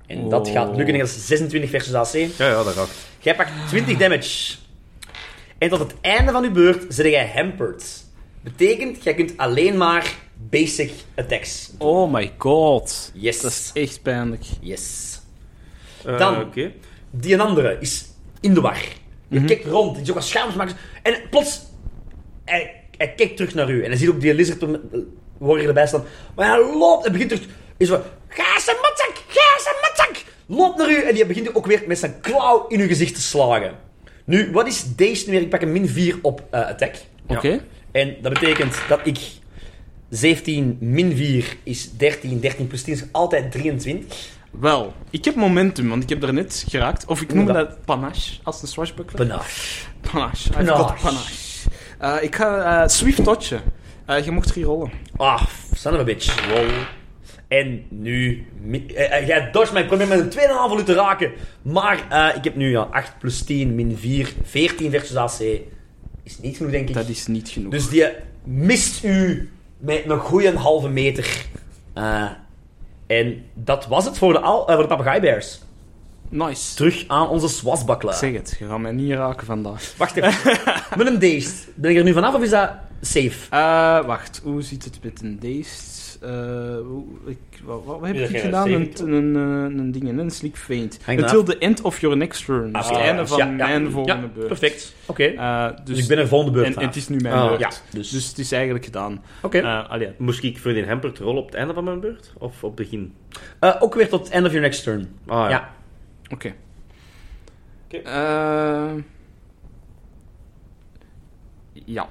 En
Oh.
dat gaat lukken. Dat is 26 versus AC.
Ja, ja, dat gaat.
Jij pakt 20 damage. En tot het einde van uw beurt zit jij hampered. Betekent, jij kunt alleen maar basic attacks.
Oh my god.
Yes.
Dat is echt pijnlijk.
Yes.
Eh,
Dan.
Oké.
Die een andere is in de war. Je kijkt rond, die is ook wat schaamsmakers. En plots, hij, hij kijkt terug naar u. En hij ziet ook die lizard om- warrior erbij staan. Maar hij loopt en begint terug... Is van, ga ze matzak, ga ze matzak. Loopt naar u en die begint ook weer met zijn klauw in uw gezicht te slagen. Nu, wat is deze nu weer? Ik pak een min 4 op eh, attack.
Oké.
En dat betekent dat ik 17 min 4 is 13. 13 plus 10 is altijd 23.
Wel, ik heb momentum, want ik heb daarnet geraakt. Of ik noem
Ja.
dat panache, als een swashbuckler.
Benaar.
Panache. I've
Panache.
got panache. Eh, ik ga eh, swift dodgen. Eh, je mocht hier rollen.
Ah, son of a bitch. Wow. En nu... mi- eh, eh, jij dodge mij. Ik probeer met een 2,5 uur te raken. Maar eh, ik heb nu ja, 8 plus 10 min 4. 14 versus AC. Is niet genoeg, denk ik.
Dat is niet genoeg.
Dus die mist u met een goeie halve meter. Eh, en dat was het voor de, al, eh, voor de papegaaibears.
Nice.
Terug aan onze swasbuckler.
Zeg het, je gaat mij niet raken vandaag.
Wacht even. Met een deest. Ben ik er nu vanaf of is dat safe?
Eh, wacht, hoe ziet het met een deest? Eh, hoe- ik- wa- wa- wat, heb
dat
ik
geen
gedaan? Een,
saving
een, een, een ding, een sleek feint.
Hangt
Until the end of your next turn. Dus het
Ah, ja,
einde
ja,
van
ja.
mijn volgende
Ja,
beurt.
Perfect. Oké.
Eh, dus,
Dus ik ben er volgende beurt
en, en het is nu mijn
Ah,
beurt.
Ja,
Dus, het is eigenlijk gedaan.
Oké.
Eh, allee,
Moest ik voor die hamper rollen op het einde van mijn beurt? Of op het begin?
Eh, ook weer tot end of your next turn.
Ah, ja.
Ja.
Oké.
Oké.
Eh, ja.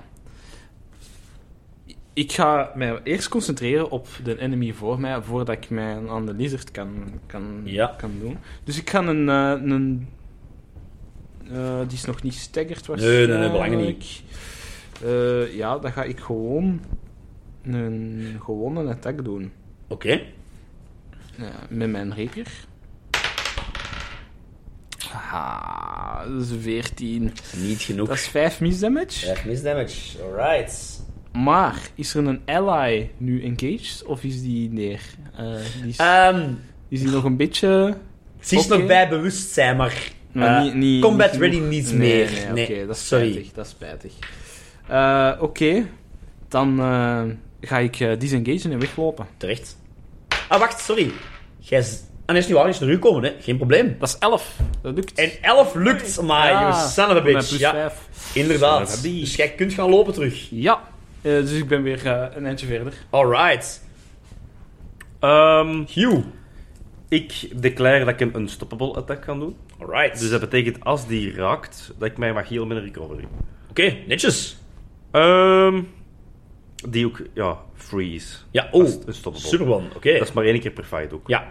Ik ga mij eerst concentreren op de enemy voor mij, voordat ik mij aan de lizard kan, kan,
Ja.
kan doen. Dus ik ga een... eh, een eh, die is nog niet staggerd
nee,
waarschijnlijk.
nee, belangen
Eh, ja, dan ga ik gewoon een gewone attack doen.
Oké.
Ja, met mijn reker. Haha, dat is een 14.
Niet genoeg.
Dat is 5 misdamage.
Echt misdamage. Alright.
Maar is er een ally nu engaged of is die neer? Eh, die is,
Ehm,
is Is die nog een beetje...
Ze is
Oké.
nog bij bewustzijn, maar...
Maar
eh,
niet- niet-
combat
niet
ready
genoeg.
niet
Nee,
meer.
Nee,
Nee,
oké, dat is
sorry.
spijtig. Dat is spijtig. Eh, oké, dan eh, ga ik eh disengagen en weglopen.
Terecht. Ah, wacht, sorry. Jij... z- Ah, nee, is niet waar, hij is teruggekomen, hè. Geen probleem.
Dat is 11. Dat lukt.
En 11 lukt, maar
Ja,
you son of a
voor mij
bitch.
Plus
Ja,
5.
inderdaad. Dus jij kunt gaan lopen terug.
Ja. Eh, dus ik ben weer eh, een eindje verder.
Alright.
Ehm,
Hugh.
ik declare dat ik een unstoppable attack kan doen.
Alright.
Dus dat betekent als die raakt, dat ik mij mag healen met een recovery.
Oké, netjes.
Ehm, die ook, ja, freeze.
Ja,
Dat
oh,
is unstoppable.
super one. Oké.
Dat is maar één keer per fight ook.
Ja,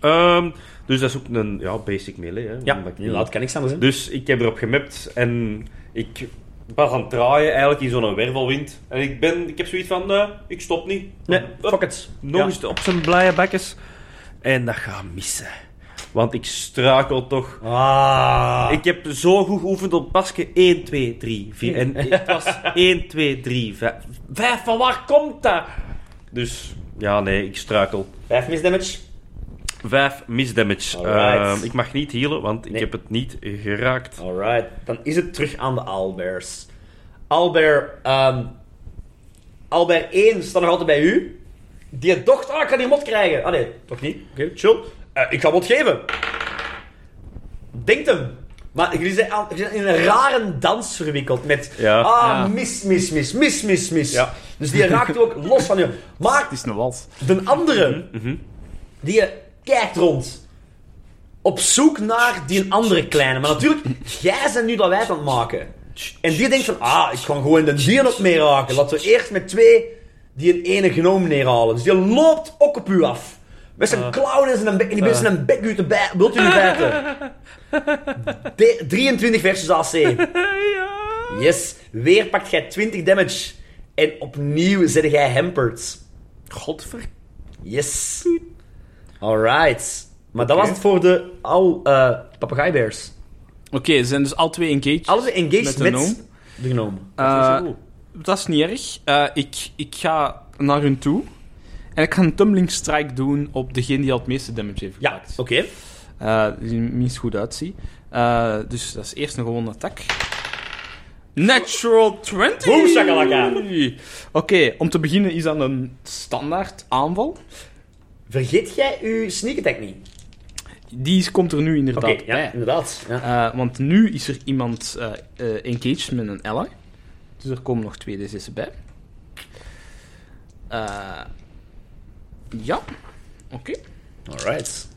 Ehm, dus dat is ook een ja, basic melee. Hè,
ja.
Omdat ik-
inderdaad, kan niks anders zijn.
Dus ik heb erop gemapt en ik was aan het draaien eigenlijk in zo'n wervelwind. En ik, ben, ik heb zoiets van, eh, ik stop niet.
Nee,
Hup,
fuck it.
Nog eens op zijn blije bekjes. En dat gaat missen. Want ik struikel toch.
Ah.
Ik heb zo goed geoefend op pasje 1, 2, 3, 4. En het was 1, 2, 3, 5. 5, van waar komt dat? Dus ja, nee, ik struikel.
5 misdamage.
5 misdamage.
Alright.
Ehm, ik mag niet healen, want ik
Nee. Oh.
heb het niet geraakt.
Alright, dan is het terug aan de Aalbears. Aalbear, ehm Aalbear 1 staat nog altijd bij u. Die dochter, ah, ik ga die mot krijgen. Ah nee, toch niet. Oké, chill. Eh, ik ga mot geven. Denkt hem. Maar jullie zijn, aan- jullie zijn in een rare dans verwikkeld met...
Ja.
ah,
Ja.
mis, mis, mis, mis, mis, mis.
Ja.
Dus die raakt ook los van je. Maar
Het is een wals.
de andere,
mhm.
die eh, kijkt rond. Op zoek naar die andere kleine. Maar natuurlijk, jij bent nu dat wij aan het maken. En die denkt van, ah, ik kan gewoon de dier op mee raken. Laten we eerst met twee die een ene genomen neerhalen. Dus die loopt ook op u af. Met zijn
Ah.
klauwen en zijn bek. En die bent zijn bek u te bij, wilt u niet bijten. De- 23 versus AC. Yes. Weer pakt jij 20 damage. En opnieuw zet jij hampered.
Godver.
Yes. Alright. Maar dat was het voor de al eh papegaaibeers.
Oké, ze zijn dus al twee engaged.
Alles engaged
Met de
met,
gnome?
de gnome.
Eh, dat is niet erg. Eh, ik, ik ga naar hun toe. En ik ga een tumbling strike doen op degene die al het meeste damage heeft
Ja,
gepakt.
oké.
Eh, die er minst goed uitziet. Eh, dus dat is eerst een gewone attack. Natural 20!
Boom, shakalaka.
Oké, om te beginnen is dat een standaard aanval.
Vergeet jij uw sneak attack niet?
Die is- komt er nu
Oké,
inderdaad
ja,
bij.
inderdaad. Ja.
Eh, want nu is er iemand eh eh, engaged met een ally. Dus er komen nog twee D6'en bij. Eh, ja, oké.
Alright.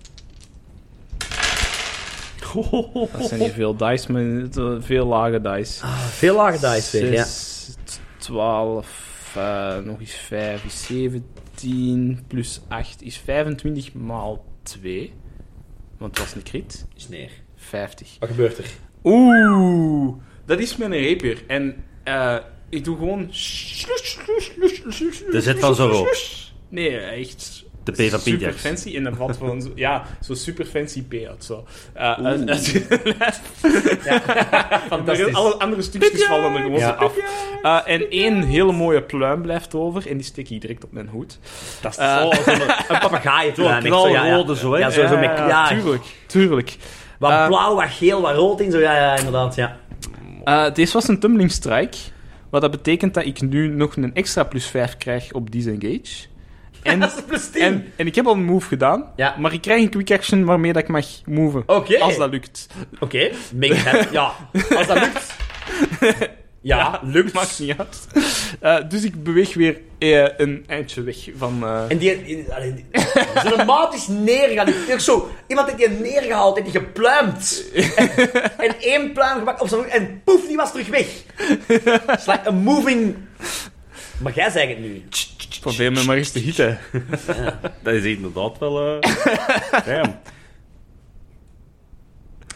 Dat zijn hier veel dice, maar het, eh, veel lage dice.
Ah, Veel lage dice weer, ja.
12, eh, nog eens 5 is 17, plus 8 is 25 maal 2. Want het was een crit.
Is neer.
50.
Wat gebeurt er?
Oeh, dat is mijn rapier. En eh, ik doe gewoon...
De zet van Zorro.
Nee, echt...
De P van
Super
Pinjax.
fancy en dan valt gewoon zo, ja, zo super fancy P uit. Zo. Eh, uit- uit-
Fantastisch.
alle andere stukjes vallen er gewoon zo af. Eh, en één hele mooie pluim blijft over. En die steek ik direct op mijn hoed.
Dat is
Eh,
zo, zo een, een papegaai.
Zo'n knalrode zo, hè?
Ja, zo, zo met... Ja,
tuurlijk. tuurlijk.
wat
Eh,
blauw, wat geel, wat rood in. Zo, ja, ja, inderdaad, ja.
Eh, deze was een tumbling strike. Wat dat betekent dat ik nu nog een extra plus 5 krijg op disengage. En,
Dat is plus 10.
en, en ik heb al een move gedaan.
Ja.
Maar ik krijg een quick action waarmee dat ik mag moven.
Oké.
Als dat lukt.
Oké, make sense. Ja, als dat lukt. Ja, lukt.
Maakt niet uit. Eh, dus ik beweeg weer eh, een eindje weg van... eh,
En die... die- allee, die- Zijn maat is neergegaan. Die- die- Zo, iemand heeft die neergehaald, heeft die gepluimd. En, en één pluim gemaakt op zijn hoek en poef, die was terug weg. Het is like a moving... Maar jij zegt het nu.
Probeer me maar eens te hitten.
Dat is inderdaad wel... eh damn.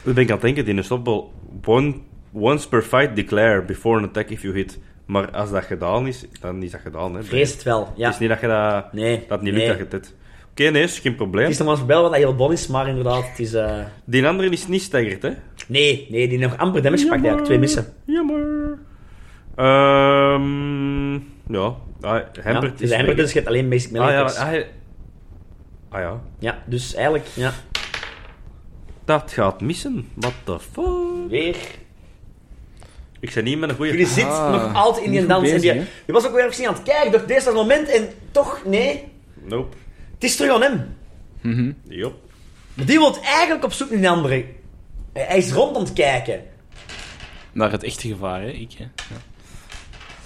Dan ben ik aan het denken, die unstoppable... One, once per fight declare before an attack if you hit. Maar als dat gedaan is, dan is dat gedaan. Hè.
Vrees het wel,
Het
ja.
is niet dat je dat...
Nee.
Dat het niet lukt
nee.
dat je het hebt. Oké, nee, is geen probleem.
Het is nog maar eens voorbij wat dat heel bon is, maar inderdaad, het is... eh,
Die andere is niet staggerd, hè?
Nee, nee, die heeft nog amper damage gepakt eigenlijk. Twee missen.
Jammer. Ehm ja, ah,
Ja,
Hembert
het
is
is amper,
weg.
dus je hebt alleen basic melee
Ah ja,
attacks.
ah, hij- ah, Ah ja.
Ja, dus eigenlijk, ja.
Dat gaat missen. What the fuck?
Weer.
Ik ben niet met een
Jullie
goede...
zitten nog altijd in die
Ah, goed
dans. En
bezig,
die,
hè?
je was ook weer ergens niet aan het kijken, dacht, deze is het moment. En toch, nee.
Nope.
Het is terug aan hem.
Jop.
Maar die wil eigenlijk op zoek naar een andere. Hij hij is rond aan het kijken.
Naar het echte gevaar, hè? Ik, hè?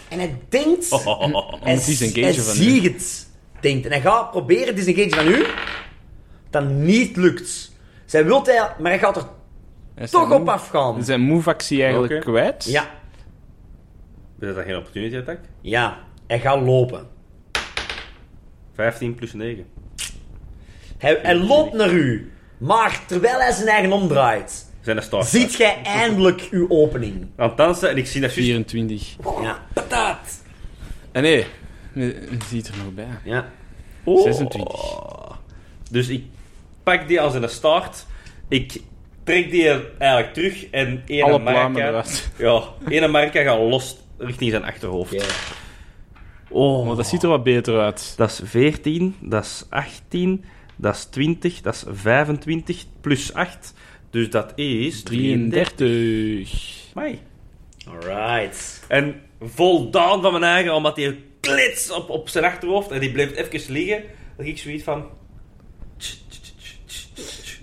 En hij denkt... Hij,
Oh, het is een
hij
van u.
ziet het. Denkt. En hij gaat proberen, het is een geentje van u. Dat niet lukt. Zij wil hij, maar hij gaat er
Hij is
toch
zijn
op
move-
afgaan.
Zijn move-actie eigenlijk
Oké.
kwijt.
Ja,
Is dat geen opportunity attack?
ja. Hij gaat lopen.
15 plus 9.
Hij, hij loopt naar u. Maar terwijl hij zijn eigen omdraait,
Zijn er stars?
ziet jij eindelijk uw opening.
Aan het dansen en ik zie dat juist...
24.
Ja, patat.
En Ah, nee, je ziet er nog bij.
Ja.
Oh.
26.
Dus ik pak die als een start. Ik trek die eigenlijk terug en één
Alle
Amerika-
pluimen eruit.
Ja, één Amerika gaat los richting zijn achterhoofd.
Oké.
Oh,
Maar dat ziet er wat beter uit.
Dat is 14, dat is 18, dat is 20, dat is 25 plus 8. Dus dat is
33.
Mei.
Alright.
En voldaan van mijn eigen, omdat hij klits op, op zijn achterhoofd en die bleef even liggen. Dat ik zoiets van.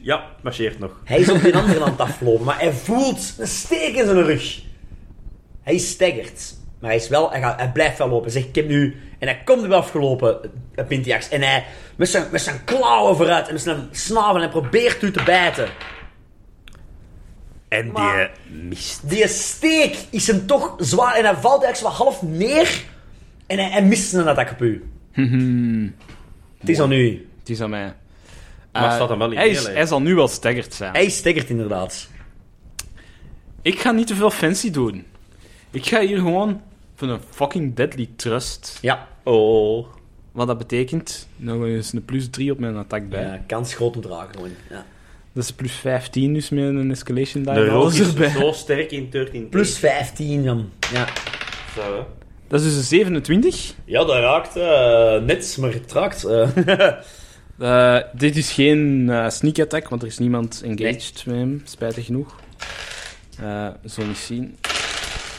Ja, marcheert nog.
Hij is op die andere aan het aflopen, maar hij voelt een steek in zijn rug. Hij is staggerd. Maar hij, is wel, hij, gaat, hij blijft wel lopen. Zeg, ik heb nu... En hij komt er wel afgelopen, eh, Pintiax. En hij, met zijn, met zijn klauwen vooruit en met zijn snavel, hij probeert u te bijten.
En die eh,
Maar-
mist.
Die steek is hem toch zwaar en hij valt eigenlijk zo wat half neer. En hij, hij mist een attack op u.
Mhm.
Het is aan u.
Het is aan mij.
Maar
Eh,
staat hem wel in
hij,
heel,
is,
hè?
hij zal nu wel staggerd zijn.
Hij steggert inderdaad.
Ik ga niet te veel fancy doen. Ik ga hier gewoon van een fucking deadly trust.
Ja.
Oh.
Wat dat betekent, nog eens een plus 3 op mijn attack bij.
ja Eh, kans groot om te raken gewoon. Ja.
Dat is een plus 15 dus met een escalation die.
De rook
Alles
is
erbij.
zo sterk in 13.
Plus 15 dan. Ja.
Zo, hè.
Dat is dus een 27.
Ja, dat raakt eh, net, maar het raakt. eh.
Eh, dit is geen eh, sneak attack, want er is niemand engaged met hem, spijtig genoeg. Eh zal niet zien.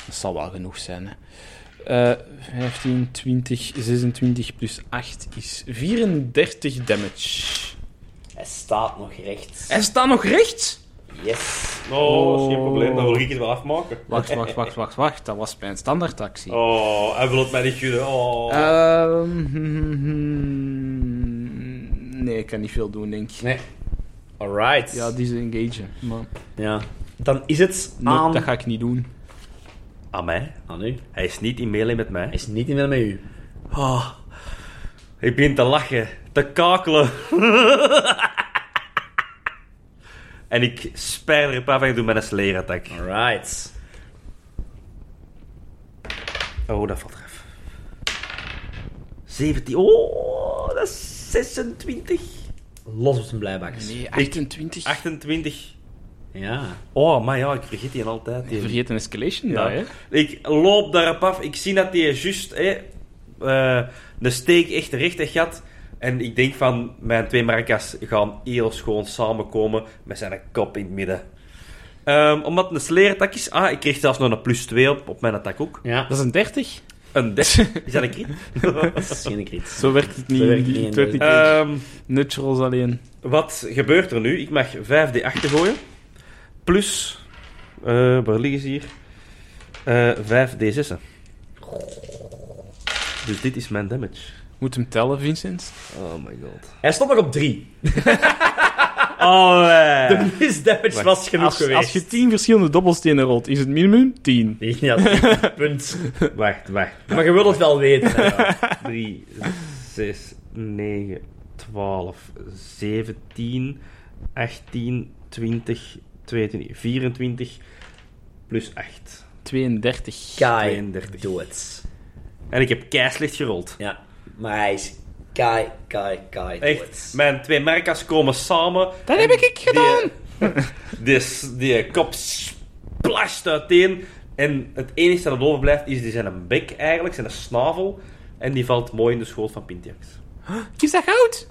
Dat zal wel genoeg zijn. Hè. Eh, 15, 20, 26 plus 8 is 34 damage.
Hij staat nog recht.
Hij staat nog recht?
Yes.
Oh, dat is geen
Oh.
probleem, dan wil ik het wel afmaken.
Wacht, wacht, wacht, wacht, wacht. Dat was mijn standaardactie.
Oh, hij wil het mij niet gunnen. Oh.
Ehm, hmm, hmm, nee, ik kan niet veel doen, denk ik.
Nee. Alright.
Ja, die is engagen. Maar
Ja. Dan is het
nee,
aan...
dat ga ik niet doen.
Aan mij?
Aan u.
Hij is niet in melee met mij.
Hij is niet in met u.
Oh. Ik begin te lachen, te kakelen. en ik spijt er een paar van, ik doe met een sleerattack.
Alright.
Oh, dat valt eraf. 17. Oh, dat is 26.
Los op zijn blijbakjes.
Nee, 28.
28.
Ja.
Oh, maar ja, ik vergeet die altijd. Die.
Vergeet een escalation
Ja.
daar, hè?
Ik loop daarop af. Ik zie dat hij juist hè, eh, de steek echt recht echt had. En ik denk van, mijn twee maracas gaan heel schoon samenkomen met zijn kop in het midden. Ehm, omdat het een sleerattack is... Ah, ik kreeg zelfs nog een plus 2 op, op mijn attack ook.
Ja.
Dat is een 30.
Een 10. Is dat een crit?
Dat is geen crit.
Zo werkt het niet.
Zo
in
werkt het
die-
niet Eh. in
Het werkt niet. tegen
Ehm,
Naturals alleen.
wat gebeurt er nu? Ik mag 5d8 gooien. Plus... eh, waar liggen ze hier? Eh 5d6'en. Dus dit is mijn damage.
Moet hem tellen, Vincent.
Oh my god.
Hij stond nog op 3. Oh,
Allee.
De misdamage
Wacht,
was genoeg
Als,
geweest.
als je 10 verschillende dobbelstenen rolt, is het minimum 10.
Ja, dat is een punt.
Wacht, wacht.
Maar je wilt het wel weten. hè.
3, 6, 9, 12, 17, 18, 20, 22, 24 plus 8.
32.
Kai,
32.
doe het.
En ik heb keislicht gerold.
Ja. Maar hij is Kai, Kai, Kai, doe
Echt,
het.
mijn twee markas komen samen.
Dat heb ik gedaan!
eh,
Die, die, die kop splasht uiteen. En het enige dat overblijft is die zijn bek eigenlijk, zijn snavel. En die valt mooi in de schoot van Pintiax.
Is dat goud?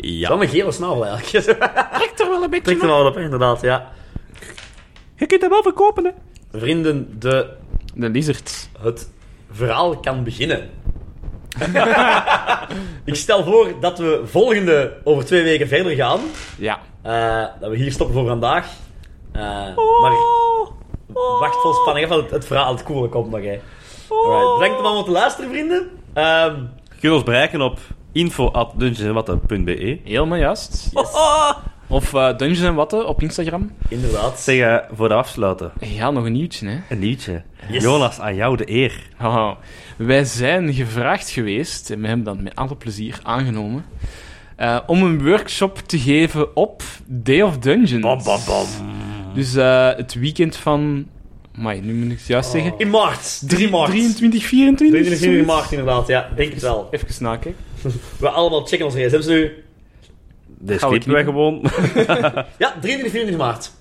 Ja.
Zo'n gele snavel eigenlijk.
Trek er wel een beetje
Trekt hem al op, inderdaad, ja.
Je kunt hem wel verkopen, hè.
Vrienden, de,
De lizards.
het verhaal kan beginnen. ik stel voor dat we volgende, over twee weken verder gaan.
Ja.
Eh, dat we hier stoppen voor vandaag. Eh, Maar wacht vol spanning even, het, het verhaal, het coole komt nog, hè. Alright, bedankt om allemaal te luisteren, vrienden. Ehm,
Je kunt ons bereiken op info.dungeonsandwatten.be
Helemaal juist.
Oh,
Of eh Dungeons en Watten op Instagram.
inderdaad.
Zeg, eh, voor de afsluiten,
Ja, nog een nieuwtje, hè.
een nieuwtje.
Yes.
Jonas, aan jou de eer.
Haha. wij zijn gevraagd geweest, en we hebben dat met alle plezier aangenomen, eh, om een workshop te geven op Day of Dungeons.
Bam, bam, bam.
Dus eh, het weekend van... Amai, nu moet ik het
Oh.
juist zeggen.
In maart, 3 maart.
23, 24?
23 maart, inderdaad, ja. Denk het wel.
Even nakijken.
We allemaal checken onze gsm's nu.
Dit
Gaan we
knippen wij gewoon.
Ja, 23, 24 maart.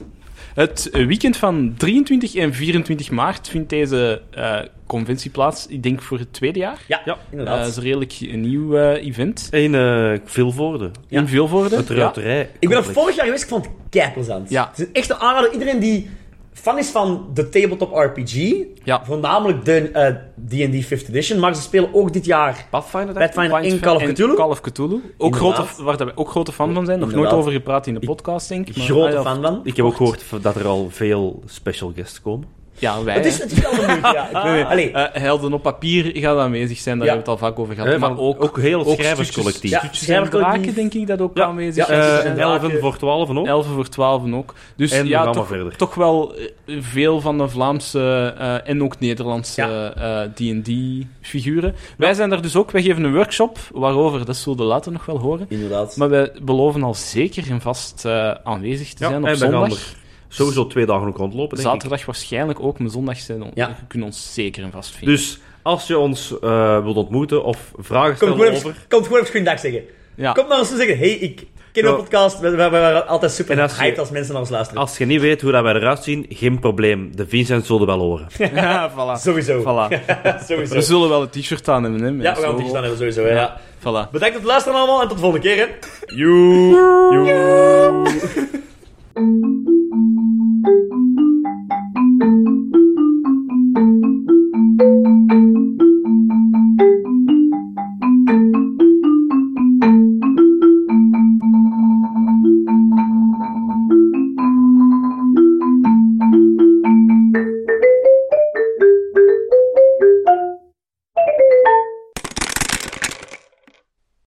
Het weekend van 23 en 24 maart vindt deze eh, conventie plaats. Ik denk voor het tweede jaar.
Ja,
Ja.
Dat
inderdaad.
is een redelijk een nieuw eh, event.
In eh Vilvoorde.
In Vilvoorde.
Het
Ja.
ruiterij.
ik ben er vorig jaar geweest, ik vond het keiplezant.
Ja.
Het is echt een aanrader. Iedereen die fan is van de tabletop RPG,
Ja.
voornamelijk de eh, D&D 5th Edition, maar ze spelen ook dit jaar
Pathfinder, denk ik?
Pathfinder
Pint
in Call of
en
Cthulhu.
Call of Cthulhu. Ook
Inderdaad.
grote, waar dat we ook grote fan van zijn. Nog
Inderdaad.
nooit over gepraat in de podcast, denk ik. maar-
Grote
Ah, ja,
fan van.
Ik heb ook gehoord dat er al veel special guests komen.
Ja, wij.
Het is,
hè.
het is wel de moeite, ja. Ik-
Nee, nee.
Allee,
Eh, Helden op papier gaat aanwezig zijn, daar
Ja.
hebben we het al vaak over gehad.
Hè,
maar
Eh, van-
ook,
ook heel het
ook
schrijverscollectief.
stukjes-
Ja,
stukjes en
schrijvercollectief.
draken, denk ik, dat ook
Ja. Eh,
aanwezig zijn.
en draken.
11 voor 12 ook.
11 voor 12 ook. Dus
En
ja,
we gaan
toch,
maar verder.
toch wel eh, veel van de Vlaamse eh, en ook Nederlandse
Ja.
eh, D&D-figuren. Wij zijn daar dus ook. Wij geven een workshop waarover, dat zullen we later nog wel horen.
inderdaad.
Maar wij beloven al zeker en vast eh, aanwezig te
Ja,
zijn
en
op
dan gaan
zondag.
Sowieso twee dagen ook rondlopen, denk ik.
Zaterdag waarschijnlijk ook, maar zondag zijn on-
Ja.
we kunnen ons zeker en vast vinden.
Dus als je ons eh, wilt ontmoeten of vragen
Kom
stellen
gewoon, Ah. even,
over...
kom gewoon even goedendag zeggen.
ja.
Kom naar ons toe zeggen, hey, ik ken
Ja.
een podcast, we, we, we waren altijd super
En als je-
hyped als mensen naar ons luisteren.
Als je niet weet hoe dat wij eruit zien, geen probleem. De Vincent zullen wel horen.
ja, voilà.
Sowieso.
Voilà.
Sowieso.
We zullen wel een t-shirt aan hebben, hè. met
Ja, we
ons
gaan het
logo.
hier staan hebben, sowieso. hè, Ja.
Voilà.
Bedankt voor het luisteren allemaal en tot de volgende keer. Hè.
Joe.